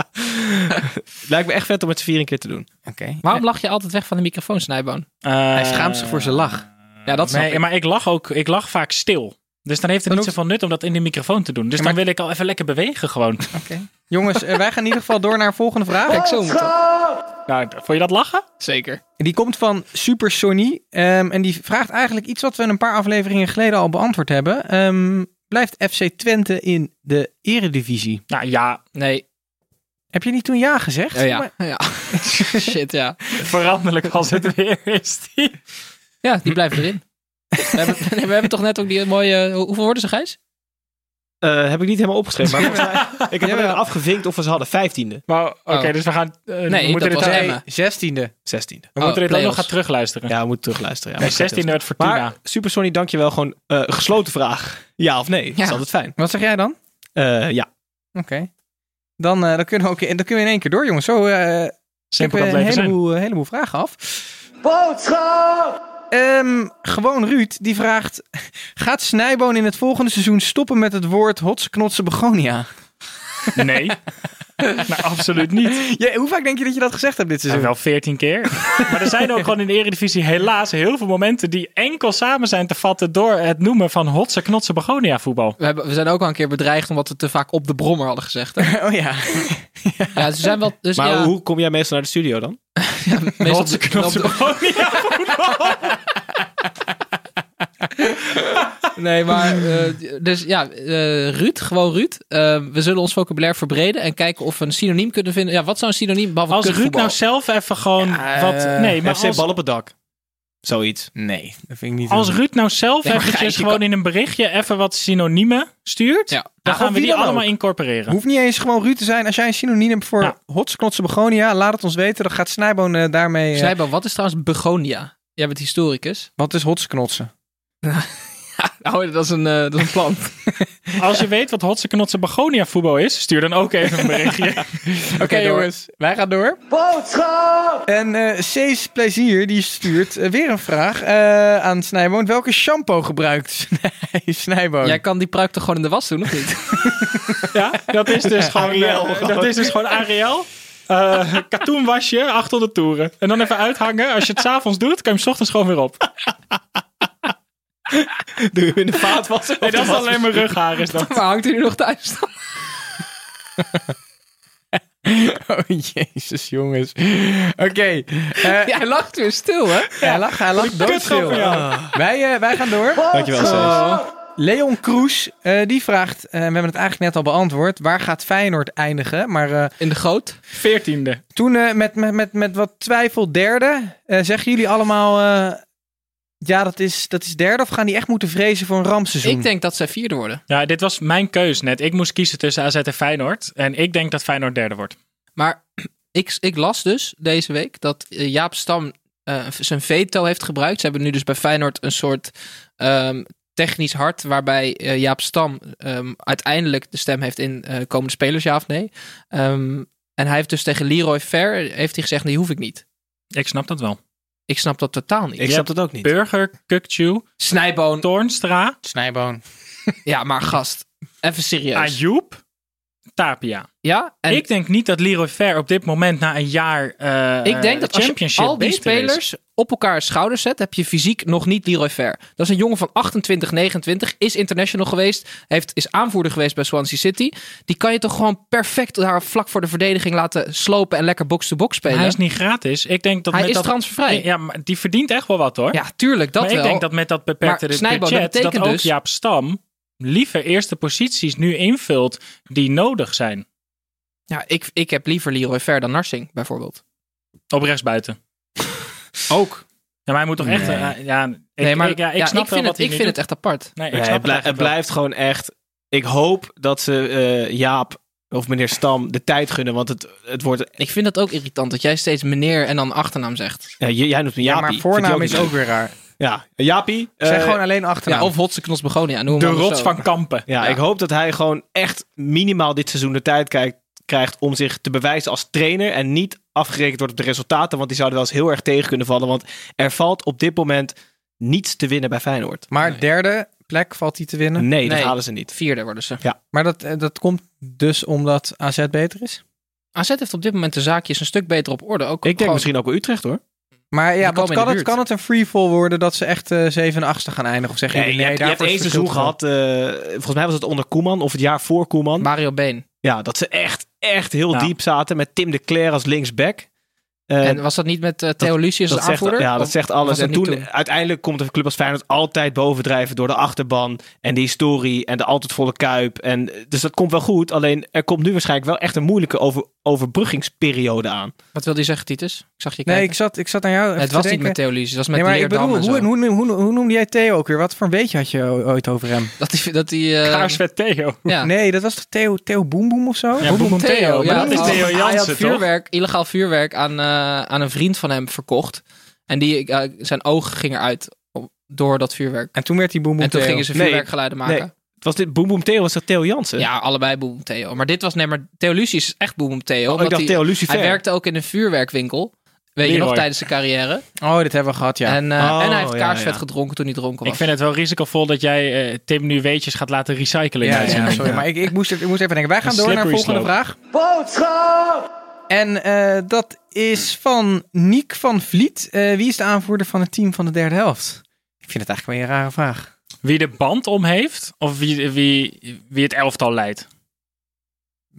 Speaker 8: Lijkt me echt vet om het z'n vier een keer te doen.
Speaker 1: Oké.
Speaker 7: Waarom lach je altijd weg van de microfoon, Snijboon?
Speaker 1: Hij schaamt zich
Speaker 6: Eh,
Speaker 1: voor zijn lach.
Speaker 7: Ja, dat snap
Speaker 6: Nee,
Speaker 7: ik.
Speaker 6: maar ik lach ook. Ik lach vaak stil. Dus dan heeft het
Speaker 1: Dan
Speaker 6: niet
Speaker 1: hoeft-
Speaker 6: zoveel nut om dat in de microfoon te doen. Dus
Speaker 1: Ja,
Speaker 6: dan
Speaker 1: maar-
Speaker 6: wil ik al even lekker bewegen gewoon.
Speaker 1: Jongens, eh, wij gaan in ieder geval door naar een volgende vraag.
Speaker 7: Kijk, zo moet dat.
Speaker 6: Nou, vond je dat lachen?
Speaker 7: Zeker.
Speaker 1: Die komt van Super Sony. ehm, en die vraagt eigenlijk iets wat we een paar afleveringen geleden al beantwoord hebben. Ehm, blijft FC Twente in de eredivisie?
Speaker 6: Nou ja,
Speaker 7: Nee. Oh
Speaker 1: Heb je niet toen Oh ja gezegd?
Speaker 7: Ja, ja.
Speaker 1: Maar-
Speaker 7: ja. Shit, ja.
Speaker 6: veranderlijk als het weer is. Die.
Speaker 7: Ja, die blijft erin. We hebben, we hebben toch net ook die mooie... hoe- Hoeveel worden ze, Gijs?
Speaker 8: Eh, heb ik niet helemaal opgeschreven, maar volgens mij- ik heb
Speaker 1: Jawel.
Speaker 8: even afgevinkt of we ze hadden. Vijftiende,
Speaker 6: Maar oké,
Speaker 7: Oh.
Speaker 6: dus we gaan... eh, we
Speaker 7: dat
Speaker 6: moeten dit,
Speaker 7: was
Speaker 6: ook-
Speaker 7: echt-
Speaker 1: Nee,
Speaker 7: Emma.
Speaker 1: zestiende.
Speaker 8: zestiende.
Speaker 6: we moeten dit ook nog
Speaker 7: play-offs.
Speaker 6: gaan terugluisteren.
Speaker 8: Ja, we moeten terugluisteren. Ja,
Speaker 6: Nee,
Speaker 8: maar ik
Speaker 6: 16
Speaker 8: weet
Speaker 6: werd
Speaker 8: het.
Speaker 6: Fortuna.
Speaker 8: Maar Super Sony, dankjewel. Gewoon eh, gesloten vraag. Ja of nee? Dat
Speaker 7: Ja.
Speaker 8: is altijd fijn.
Speaker 1: Wat zeg jij dan?
Speaker 8: Eh, ja.
Speaker 1: Oké. Dan, eh, dan, kunnen we ook, dan kunnen we in één keer door, jongens. Zo eh,
Speaker 6: Simpel
Speaker 1: ik
Speaker 6: kan
Speaker 1: heb
Speaker 6: het
Speaker 1: een
Speaker 6: leven zijn.
Speaker 1: heleboel, een heleboel vragen af. Boodschap! gewoon Ruud, die vraagt... Gaat Snijboon in het volgende seizoen stoppen met het woord hotse knotse begonia?
Speaker 6: Nee. nou, absoluut niet.
Speaker 1: Ja, hoe vaak denk je dat je dat gezegd hebt dit
Speaker 6: Ja,
Speaker 1: seizoen?
Speaker 6: wel 14 keer. maar er zijn ook gewoon in de Eredivisie helaas heel veel momenten die enkel samen zijn te vatten door het noemen van hotse knotse begonia voetbal.
Speaker 7: We, hebben, we zijn ook al een keer bedreigd omdat we te vaak op de brommer hadden gezegd. Hè?
Speaker 1: Oh ja.
Speaker 7: Ja, ze zijn wel... Dus,
Speaker 8: Maar
Speaker 7: ja,
Speaker 8: hoe kom jij meestal naar de studio dan?
Speaker 7: meestal
Speaker 6: Hotse
Speaker 7: op de-
Speaker 6: knotse
Speaker 7: op de-
Speaker 6: begonia.
Speaker 7: Nee, maar... eh, dus ja, eh, Ruud, gewoon Ruud. Eh, we zullen ons vocabulaire verbreden en kijken of we een synoniem kunnen vinden. Ja, wat zou een synoniem behalve
Speaker 6: Als Ruud
Speaker 7: kutvoetbal?
Speaker 6: nou zelf even gewoon wat... Nee, maar
Speaker 8: FC
Speaker 6: als,
Speaker 8: bal op het dak. Zoiets.
Speaker 1: Nee, dat vind ik niet...
Speaker 6: als Ruud nou zelf
Speaker 7: Nee, maar
Speaker 6: eventjes
Speaker 7: Gijs, je
Speaker 6: gewoon
Speaker 7: kan-
Speaker 6: in een berichtje even wat synoniemen stuurt,
Speaker 7: Ja.
Speaker 1: Ja,
Speaker 6: dan
Speaker 1: of
Speaker 6: gaan we
Speaker 1: wie
Speaker 6: die
Speaker 1: dan
Speaker 6: allemaal
Speaker 1: ook.
Speaker 6: incorporeren.
Speaker 1: Hoeft niet eens gewoon Ruud te zijn. Als jij een synoniem hebt voor
Speaker 6: Ja.
Speaker 1: hotse knotse begonia, laat het ons weten. Dan gaat Snijboon eh, daarmee... eh,
Speaker 7: Snijbo, wat is trouwens begonia? Jij bent historicus.
Speaker 1: wat is hotse knotsen?
Speaker 7: Oh, dat is een, eh, dat is een plant.
Speaker 6: Als je weet wat hotse knotse begonia voetbal is, stuur dan ook even een berichtje.
Speaker 1: Oké
Speaker 7: door.
Speaker 1: jongens, wij gaan door. Boodschap! En eh Cees Plezier die stuurt eh, weer een vraag eh, aan Snijboon. Welke shampoo gebruikt Snij- Snijboon?
Speaker 7: Jij kan die pruik toch gewoon in de was doen, of niet?
Speaker 6: ja, dat is dus gewoon,
Speaker 8: oh,
Speaker 6: eh, dat is dus gewoon Ariel. Eh katoenwasje, 800 toeren. En dan even uithangen. Als je het s'avonds doet, kan je hem 's ochtends gewoon weer op.
Speaker 8: Doe je in de vaat wassen?
Speaker 6: Nee, dat is alleen mijn rughaar. Is dat.
Speaker 7: maar hangt hij nu nog thuis dan?
Speaker 1: Oh jezus jongens. Oké. eh,
Speaker 7: Jij lacht weer stil, hè?
Speaker 1: Hij lacht, hij lacht doodstil.
Speaker 6: van jou.
Speaker 1: Ah. Wij, eh, wij gaan door.
Speaker 8: Dankjewel, Cees.
Speaker 1: Leon Kroes, eh, die vraagt, eh, we hebben het eigenlijk net al beantwoord, waar gaat Feyenoord eindigen? Maar eh,
Speaker 7: In de goot.
Speaker 6: Veertiende.
Speaker 1: toen eh, met, met, met, met wat twijfel derde, eh, zeggen jullie allemaal, eh, ja dat is, dat is derde of gaan die echt moeten vrezen voor een rampseizoen?
Speaker 7: Ik denk dat zij vierde worden.
Speaker 6: Ja, dit was mijn keus net. Ik moest kiezen tussen AZ en Feyenoord. En ik denk dat Feyenoord derde wordt.
Speaker 7: Maar ik, ik las dus deze week dat eh, Jaap Stam eh, zijn veto heeft gebruikt. Ze hebben nu dus bij Feyenoord een soort ehm, technisch hart... waarbij eh, Jaap Stam ehm, uiteindelijk de stem heeft in eh, komende spelers, ja of nee. Ehm, en hij heeft dus tegen Leroy Fair heeft hij gezegd, die hoef ik niet.
Speaker 6: Ik snap dat wel.
Speaker 7: Ik snap dat totaal niet.
Speaker 8: Ik snap dat ook niet.
Speaker 6: Burger, Kukchu,
Speaker 7: Snijboon.
Speaker 6: Toornstra,
Speaker 1: Snijboon.
Speaker 7: Ja, maar gast. Even serieus.
Speaker 6: Ayoub, Tapia.
Speaker 7: Ja? En
Speaker 6: Ah, ik denk niet dat Leroy Fair op dit moment na een jaar eh
Speaker 7: Ik denk dat als je
Speaker 6: championship
Speaker 7: al die
Speaker 6: beter is.
Speaker 7: spelers op elkaar schouders zet, heb je fysiek nog niet Leroy Fair. Dat is een jongen van 28, 29, is international geweest, heeft, is aanvoerder geweest bij Swansea City. Die kan je toch gewoon perfect daar vlak voor de verdediging laten slopen en lekker box-to-box
Speaker 6: Maar
Speaker 7: spelen.
Speaker 6: Hij is niet gratis. Ik denk dat
Speaker 7: Hij
Speaker 6: met
Speaker 7: is
Speaker 6: dat...
Speaker 7: transfervrij.
Speaker 6: Ja, maar die verdient echt wel wat hoor.
Speaker 7: Ja, tuurlijk, dat
Speaker 6: maar
Speaker 7: wel.
Speaker 6: ik denk dat met dat beperkte
Speaker 7: Maar Snijbo, dat
Speaker 6: budget dat,
Speaker 7: betekent
Speaker 6: ook
Speaker 7: dus-
Speaker 6: Jaap Stam liever eerste posities nu invult die nodig zijn.
Speaker 7: Ja, ik, ik heb liever Leroy Fair dan Narsing, bijvoorbeeld.
Speaker 6: Op rechtsbuiten.
Speaker 7: Ook.
Speaker 6: Ja, maar hij moet toch echt... eh, ja, ik,
Speaker 7: Nee, maar
Speaker 6: ik, ja, ik snap
Speaker 7: vind,
Speaker 6: wel
Speaker 7: het,
Speaker 6: wat hij
Speaker 7: ik
Speaker 6: nu
Speaker 7: vind het
Speaker 6: doet.
Speaker 7: echt apart.
Speaker 6: Nee, ik
Speaker 8: Nee,
Speaker 6: snap
Speaker 8: het, blij-
Speaker 6: het eigenlijk
Speaker 8: het blijft gewoon echt... Ik hoop dat ze eh, Jaap of meneer Stam de tijd gunnen. Want het, het wordt...
Speaker 7: Ik vind dat ook irritant dat jij steeds meneer en dan achternaam zegt.
Speaker 8: Ja, j- jij noemt me
Speaker 1: Ja,
Speaker 8: Jaapie.
Speaker 1: maar
Speaker 8: Vind je
Speaker 1: voornaam is
Speaker 8: niet
Speaker 1: ook
Speaker 8: leuk?
Speaker 1: weer raar.
Speaker 8: Ja, Jaapie.
Speaker 1: Zeg
Speaker 8: eh,
Speaker 1: gewoon alleen
Speaker 7: Ja,
Speaker 1: achternaam.
Speaker 7: of Hotse Knots Begonia, noem hem
Speaker 6: wel.
Speaker 7: maar
Speaker 6: De
Speaker 7: zo.
Speaker 6: rots van Kampen.
Speaker 8: Ja, ik hoop dat hij gewoon echt minimaal dit seizoen de tijd kijkt, krijgt om zich te bewijzen als trainer. En niet afgerekend wordt op de resultaten. Want die zouden wel eens heel erg tegen kunnen vallen. Want er valt op dit moment niets te winnen bij Feyenoord.
Speaker 1: Maar derde plek valt hij te winnen.
Speaker 8: Nee, dat
Speaker 7: Nee.
Speaker 8: halen ze niet.
Speaker 7: Vierde worden ze.
Speaker 1: Maar dat, eh, dat komt dus omdat AZ beter is.
Speaker 7: AZ heeft op dit moment de zaakjes een stuk beter op orde. Ook
Speaker 8: Ik denk
Speaker 7: gewoon-
Speaker 8: misschien ook wel Utrecht hoor.
Speaker 1: Maar ja,
Speaker 7: Die
Speaker 1: wat
Speaker 7: komen in
Speaker 1: kan
Speaker 7: de
Speaker 1: het,
Speaker 7: buurt.
Speaker 1: kan het een freefall worden dat ze echt eh 7 en 8 gaan eindigen? Of zeggen
Speaker 8: Nee,
Speaker 1: jullie
Speaker 8: je
Speaker 1: nee,
Speaker 8: hebt, je hebt
Speaker 1: daarvoor
Speaker 8: één
Speaker 1: is het
Speaker 8: seizoen
Speaker 1: verschil
Speaker 8: gehad. eh, volgens mij was het onder Koeman of het jaar voor Koeman.
Speaker 7: Mario Been.
Speaker 8: ja, dat ze echt, echt heel
Speaker 6: Ja.
Speaker 8: diep zaten met Tim de Cler als linksback. Eh,
Speaker 7: En was dat niet met eh, Theo Lucius
Speaker 8: dat
Speaker 7: als
Speaker 8: zegt,
Speaker 7: aanvoerder?
Speaker 8: ja, dat
Speaker 7: Of
Speaker 8: zegt alles.
Speaker 7: was dat
Speaker 8: En
Speaker 7: niet
Speaker 8: toen, uiteindelijk komt een club als Feyenoord altijd bovendrijven door de achterban en de historie en de altijd volle kuip. En, eh, dus dat komt wel goed. Alleen er komt nu waarschijnlijk wel echt een moeilijke over, overbruggingsperiode aan.
Speaker 7: Wat wil die zeggen, Titus? Ik zag je kijken.
Speaker 1: Nee, ik zat, ik zat naar jou. even
Speaker 7: het
Speaker 1: te
Speaker 7: was niet
Speaker 1: denken.
Speaker 7: met Theo Lucius, het was met
Speaker 1: nee, maar ik
Speaker 7: Leerdam
Speaker 1: bedoel,
Speaker 7: en zo.
Speaker 1: hoe, hoe, hoe, hoe, noemde jij Theo ook weer? Wat voor een beetje had je o- ooit over hem?
Speaker 7: Dat die... Dat die eh,
Speaker 6: Kaarsvet Theo.
Speaker 7: ja.
Speaker 1: Nee, dat was toch Theo, Theo Boem Boem of zo?
Speaker 6: Ja, Boem Theo. Maar
Speaker 7: ja,
Speaker 6: dat is
Speaker 7: oh,
Speaker 6: Theo
Speaker 7: Hij had
Speaker 6: Jansen, toch?
Speaker 7: vuurwerk, illegaal vuurwerk aan, eh, aan een vriend van hem verkocht. En die, eh, zijn ogen gingen uit op- door dat vuurwerk.
Speaker 1: En toen werd hij Boem Boem
Speaker 7: En toen
Speaker 1: Theo.
Speaker 7: gingen ze
Speaker 8: Nee,
Speaker 7: vuurwerkgeluiden maken.
Speaker 8: nee. Was dit Boom Boom Theo? Was dat Theo Jansen?
Speaker 7: Ja, allebei Boom Theo. Maar dit was nee, maar Theo Lucius is echt Boom Theo.
Speaker 8: Oh, ik
Speaker 7: omdat
Speaker 8: dacht
Speaker 7: hij,
Speaker 8: Theo Lucifer.
Speaker 7: hij werkte ook in een vuurwerkwinkel. Weet je
Speaker 6: Leroy.
Speaker 7: nog, tijdens zijn carrière.
Speaker 1: Oh, dit hebben we gehad, ja.
Speaker 7: En, eh,
Speaker 8: Oh,
Speaker 7: en hij heeft
Speaker 8: ja,
Speaker 7: kaarsvet
Speaker 8: ja.
Speaker 7: gedronken toen hij dronken was.
Speaker 6: Ik vind het wel risicovol dat jij eh, Tim nu weetjes gaat laten recyclen.
Speaker 1: ja,
Speaker 6: in de
Speaker 1: ja,
Speaker 6: uitzending.
Speaker 1: sorry, maar ik, ik, moest, het- ik moest even denken. Wij gaan
Speaker 6: Een
Speaker 1: door naar de
Speaker 6: slippery
Speaker 1: volgende
Speaker 6: slope.
Speaker 1: vraag. Boodschap! En eh, dat is van Niek van Vliet. Eh, wie is de aanvoerder van het team van de derde helft? Ik vind het eigenlijk wel een rare vraag.
Speaker 6: Wie de band om heeft of wie, wie, wie het elftal leidt.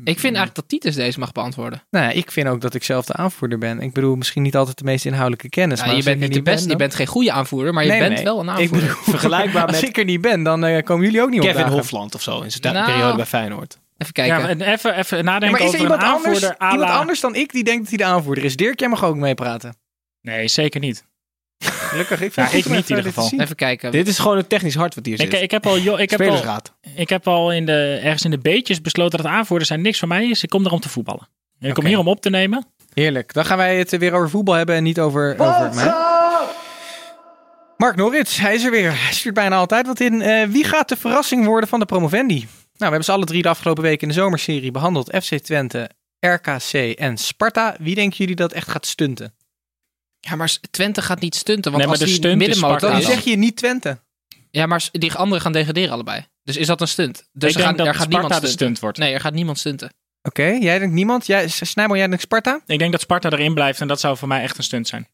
Speaker 7: Ik vind eigenlijk dat Titus deze mag beantwoorden.
Speaker 1: Nou, ik vind ook dat ik zelf de aanvoerder ben. Ik bedoel, misschien niet altijd de meest inhoudelijke kennis.
Speaker 7: Nou,
Speaker 1: maar
Speaker 7: je
Speaker 1: als ik
Speaker 7: bent niet
Speaker 1: er
Speaker 7: de beste, je
Speaker 1: ben,
Speaker 7: bent geen goede aanvoerder, maar je
Speaker 1: Nee, nee,
Speaker 7: bent
Speaker 1: nee.
Speaker 7: wel een
Speaker 1: dan-
Speaker 7: aanvoerder.
Speaker 1: Ik bedoel,
Speaker 8: Vergelijkbaar
Speaker 1: als
Speaker 8: met
Speaker 1: ik er niet ben, dan eh, komen jullie ook niet
Speaker 8: Kevin
Speaker 1: opdagen.
Speaker 8: Hofland of zo in zijn
Speaker 7: Nou.
Speaker 8: periode bij Feyenoord.
Speaker 7: Even
Speaker 6: Ja,
Speaker 7: kijken.
Speaker 6: en even, even
Speaker 1: Ja,
Speaker 6: nadenken
Speaker 1: maar is er
Speaker 6: over een
Speaker 1: iemand anders,
Speaker 6: aanvoerder à
Speaker 1: iemand
Speaker 6: la-
Speaker 1: anders dan ik die denkt dat hij de aanvoerder is? Dirk, jij mag ook meepraten.
Speaker 6: Nee, zeker niet.
Speaker 1: Gelukkig, ik
Speaker 6: Ja,
Speaker 1: vind het
Speaker 6: ik
Speaker 1: goed om
Speaker 6: niet
Speaker 1: even
Speaker 6: in ieder
Speaker 1: dit te
Speaker 6: geval.
Speaker 1: zien.
Speaker 7: Even kijken.
Speaker 8: Dit is gewoon een technisch hart wat hier zit.
Speaker 6: Ik, ik heb al, jo- ik heb al
Speaker 8: Spelersraad.
Speaker 6: Ik heb al in de, ergens in de beetjes besloten dat aanvoerders zijn niks voor mij is. Ik kom daar om te voetballen. En ik kom
Speaker 1: Oké.
Speaker 6: hier om op te nemen.
Speaker 1: Heerlijk. Dan gaan wij het eh, weer over voetbal hebben en niet over, over mij. Mark Norrits, hij is er weer. Hij stuurt bijna altijd wat in. Eh, wie gaat de verrassing worden van de promovendi? Nou, we hebben ze alle drie de afgelopen weken in de zomerserie behandeld. FC Twente, RKC en Sparta. Wie denken jullie dat echt gaat stunten?
Speaker 7: Ja, maar Twente gaat niet stunten, want
Speaker 6: Nee, maar
Speaker 7: als
Speaker 6: de
Speaker 7: die
Speaker 6: stunt is
Speaker 7: middenmotor... Oh,
Speaker 6: Sparta
Speaker 1: Dan
Speaker 6: Ja,
Speaker 1: zeg je niet Twente.
Speaker 7: Ja, maar die anderen gaan degraderen allebei. Dus is dat een stunt? Dus
Speaker 6: ik
Speaker 7: er, gaan,
Speaker 6: denk
Speaker 7: er
Speaker 6: dat
Speaker 7: gaat
Speaker 6: Sparta
Speaker 7: niemand
Speaker 6: de
Speaker 7: stunten.
Speaker 6: stunt wordt.
Speaker 7: Nee, er gaat niemand stunten.
Speaker 1: Oké, jij denkt niemand? Jij, Snijbel, jij denkt Sparta?
Speaker 6: Ik denk dat Sparta erin blijft en dat zou voor mij echt een stunt zijn.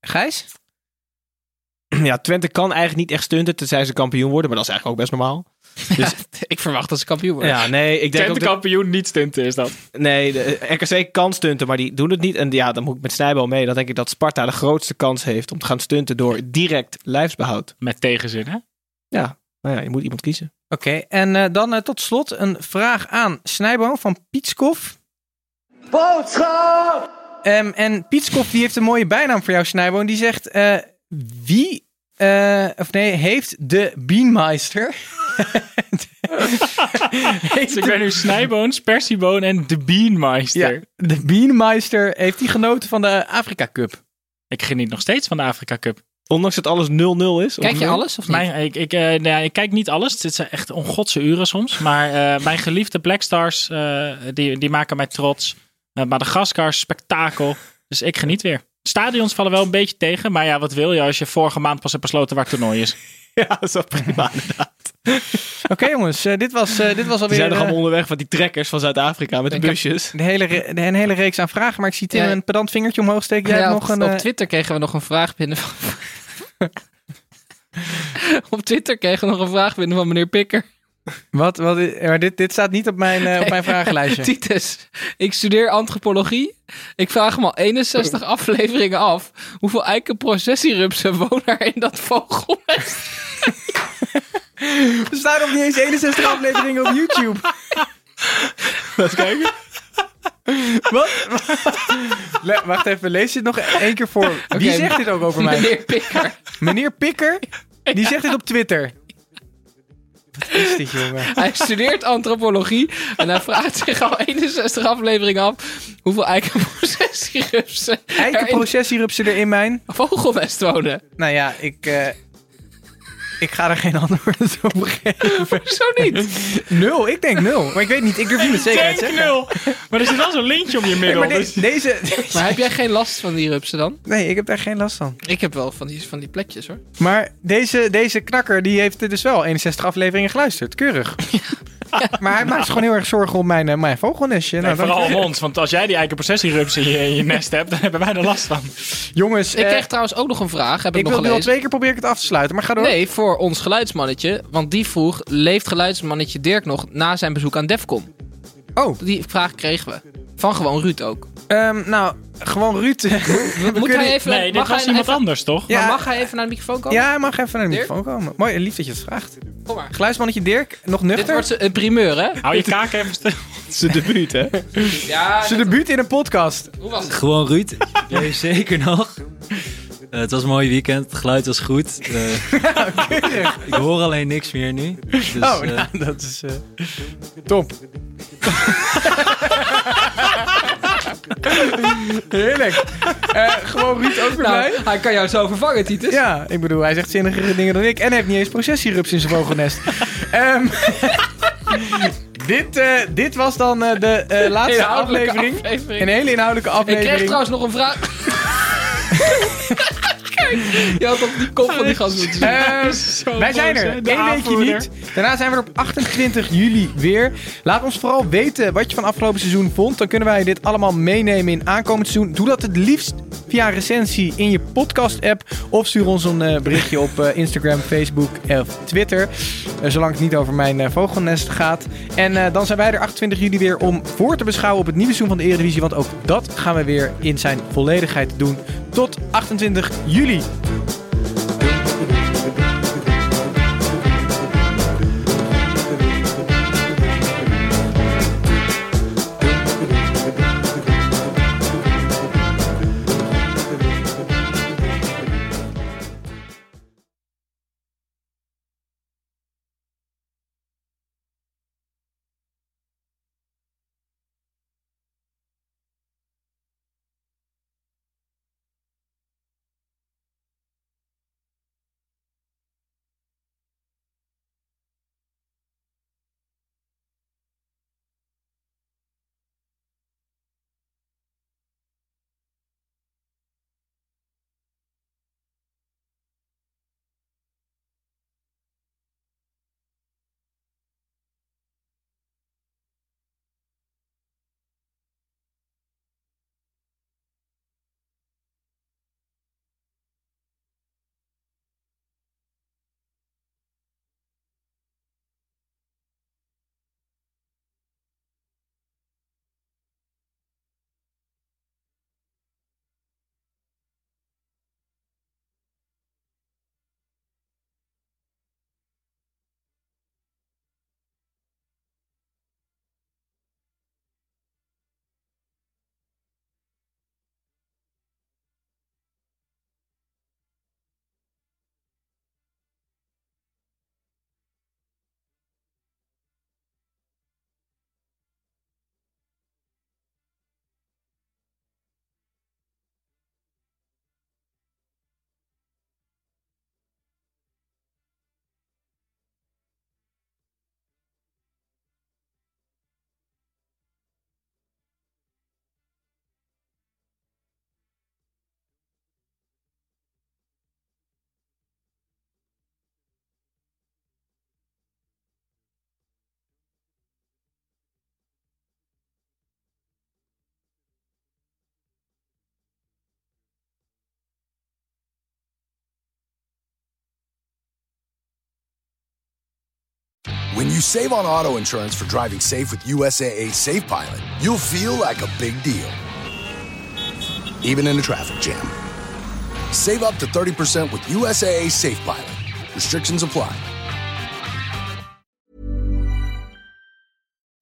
Speaker 1: Gijs?
Speaker 8: Ja, Twente kan eigenlijk niet echt stunten tenzij ze kampioen worden. Maar dat is eigenlijk ook best normaal.
Speaker 7: Ik verwacht dat ze kampioen worden.
Speaker 8: Ja, nee, ik denk ook
Speaker 6: Twente
Speaker 8: dat-
Speaker 6: kampioen niet stunten is dat.
Speaker 8: nee, de eh, RKC kan stunten, maar die doen het niet. En ja, dan moet ik met Snijbel mee. Dan denk ik dat Sparta de grootste kans heeft om te gaan stunten door direct lijfsbehoud.
Speaker 6: Met tegenzin hè.
Speaker 8: Ja, nou ja, je moet iemand kiezen.
Speaker 1: Oké, en eh, dan eh, tot slot een vraag aan Snijboom van Pietskoff. Boodschap! Ehm, en Pietskoff die heeft een mooie bijnaam voor jou, Snijboom. Die zegt, eh, wie, eh, of nee, heeft de Beanmeister...
Speaker 6: Dus ik ben nu Snijboons, Persieboon en de Beanmeister.
Speaker 1: Ja, de Beanmeister heeft die genoten van de Afrika Cup.
Speaker 6: Ik geniet nog steeds van de Afrika Cup.
Speaker 8: Ondanks dat alles 0-0 is.
Speaker 7: Kijk je
Speaker 8: ongeveer.
Speaker 7: alles of niet?
Speaker 6: Mijn, ik, ik, eh, nou ja, ik kijk niet alles. Dit zijn echt ongodse uren soms. Maar eh, mijn geliefde Blackstars, eh, die, die maken mij trots. Eh, Madagaskar, spektakel. Dus ik geniet weer. Stadions vallen wel een beetje tegen. Maar ja, wat wil je als je vorige maand pas hebt besloten waar het toernooi is?
Speaker 8: Ja, dat is wel prima.
Speaker 1: Oké jongens, eh, dit, was, eh dit was
Speaker 8: Die
Speaker 1: alweer
Speaker 8: zijn nog
Speaker 1: eh,
Speaker 8: allemaal onderweg van die trekkers van Zuid-Afrika met de
Speaker 7: Ik heb-
Speaker 8: busjes.
Speaker 1: de hele re- de, een hele reeks aan vragen. Maar ik zie Tim
Speaker 7: Ja.
Speaker 1: een pedant vingertje omhoog steken. Jij
Speaker 7: Ja,
Speaker 1: hebt
Speaker 7: op,
Speaker 1: nog een...
Speaker 7: op
Speaker 1: eh,
Speaker 7: Twitter kregen we nog een vraag binnen van... op Twitter kregen we nog een vraag binnen van meneer Pikker.
Speaker 1: wat, wat, eh, maar dit, dit staat niet op mijn, eh, op mijn vragenlijstje.
Speaker 7: Titus, ik studeer antropologie. Ik vraag me al 61 afleveringen af... hoeveel eikenprocessierupsen wonen er in dat vogelnest?
Speaker 1: Er staan nog niet eens 61 afleveringen op YouTube.
Speaker 8: Laten we kijken.
Speaker 1: Wat? Le- wacht even, lees dit nog één keer voor. Wie
Speaker 7: Oké,
Speaker 1: zegt dit ook over mij?
Speaker 7: Meneer Pikker.
Speaker 1: Meneer Pikker, die zegt dit op Twitter. Wat is dit, jongen?
Speaker 7: Hij studeert antropologie en hij vraagt zich al 61 afleveringen af hoeveel eikenprocessierupsen er in
Speaker 1: Eikenprocessierupsen er in mijn...
Speaker 7: Vogelwest wonen.
Speaker 1: Nou ja, ik... eh, ik ga er geen antwoord op geven.
Speaker 7: Zo niet.
Speaker 1: Nul, ik denk nul. Maar ik weet niet, ik durf niet met zekerheid te
Speaker 6: Denk
Speaker 1: zeggen.
Speaker 6: nul. Maar er zit wel zo'n lintje om je
Speaker 1: Nee,
Speaker 6: middel.
Speaker 1: maar de-
Speaker 6: dus-
Speaker 1: deze,
Speaker 7: Maar heb jij geen last van die rupsen dan?
Speaker 1: Nee, ik heb daar geen last van.
Speaker 7: Ik heb wel van die, van die plekjes hoor.
Speaker 1: Maar deze, deze knakker die heeft dus wel 61 afleveringen geluisterd. Keurig. Maar hij maakt zich gewoon heel erg zorgen om mijn, eh, mijn vogelnestje.
Speaker 6: Nee,
Speaker 1: Nou, dan-
Speaker 6: vooral om ons, want als jij die eikenprocessierups in je, in je nest hebt, dan hebben wij er last van.
Speaker 1: Jongens,
Speaker 7: Ik
Speaker 1: eh,
Speaker 7: kreeg trouwens ook nog een vraag. Heb ik,
Speaker 1: ik wil
Speaker 7: nog
Speaker 1: nu al
Speaker 7: gelezen?
Speaker 1: twee keer proberen het af te sluiten, maar ga door.
Speaker 7: Nee, voor ons geluidsmannetje. Want die vroeg, leeft geluidsmannetje Dirk nog na zijn bezoek aan Defcon?
Speaker 1: Oh.
Speaker 7: Die vraag kregen we. Van gewoon Ruud ook.
Speaker 1: Ehm, nou, gewoon Ruud. We
Speaker 7: Moet
Speaker 1: kunnen-
Speaker 7: hij even...
Speaker 6: Nee, dit
Speaker 7: mag,
Speaker 6: was
Speaker 7: hij
Speaker 6: iemand
Speaker 7: even,
Speaker 6: anders, toch?
Speaker 1: Ja.
Speaker 7: maar mag hij even naar de microfoon komen?
Speaker 1: Ja, hij mag even naar de
Speaker 7: Dirk?
Speaker 1: microfoon komen. Mooi, lief dat je het vraagt.
Speaker 7: Kom maar.
Speaker 1: Geluidsmannetje Dirk, nog nuchter.
Speaker 7: Dit wordt ze- een primeur, hè?
Speaker 6: Hou je kaak even stil.
Speaker 8: Zijn debuut, hè?
Speaker 7: Ja,
Speaker 1: Zijn debuut in een podcast.
Speaker 7: hoe was het?
Speaker 3: Gewoon Ruud. Nee, zeker nog. Eh, het was een mooi weekend. Het geluid was goed. Eh, ik hoor alleen niks meer nu. Dus,
Speaker 1: Oh,
Speaker 3: eh,
Speaker 1: nou, dat is... eh, top. Heerlijk. Eh, gewoon Ruud ook weer blij.
Speaker 7: Nou, dus- hij kan jou zo vervangen, Titus.
Speaker 1: Ja, ik bedoel, hij zegt zinnigere dingen dan ik. En hij heeft niet eens processierups in zijn vogelnest. Ehm, dit, eh, dit was dan eh, de eh, laatste
Speaker 7: Inhoudelijke
Speaker 1: aflevering.
Speaker 7: aflevering.
Speaker 1: Een hele inhoudelijke
Speaker 7: Ik kreeg
Speaker 1: aflevering.
Speaker 7: trouwens nog een vraag. Kijk, je had op die kop van die gast moeten zien.
Speaker 1: Ehm, wij zijn er. Eén weekje niet. Daarna zijn we er op 28 juli weer. Laat ons vooral weten wat je van afgelopen seizoen vond. Dan kunnen wij dit allemaal meenemen in aankomend seizoen. Doe dat het liefst via een recensie in je podcast-app. Of stuur ons een eh, berichtje op eh, Instagram, Facebook of Twitter. Eh, zolang het niet over mijn eh, vogelnest gaat. En eh, dan zijn wij er 28 juli weer om voor te beschouwen op het nieuwe seizoen van de Eredivisie. Want ook dat gaan we weer in zijn volledigheid doen. Tot 28 juli.
Speaker 9: When you save on auto insurance for driving safe with USAA Safe Pilot, you'll feel like a big deal. Even in a traffic jam. Save up to 30% with USAA Safe Pilot. Restrictions apply.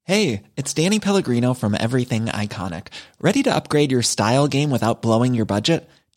Speaker 4: Hey, it's Danny Pellegrino from Everything Iconic. Ready to upgrade your style game without blowing your budget?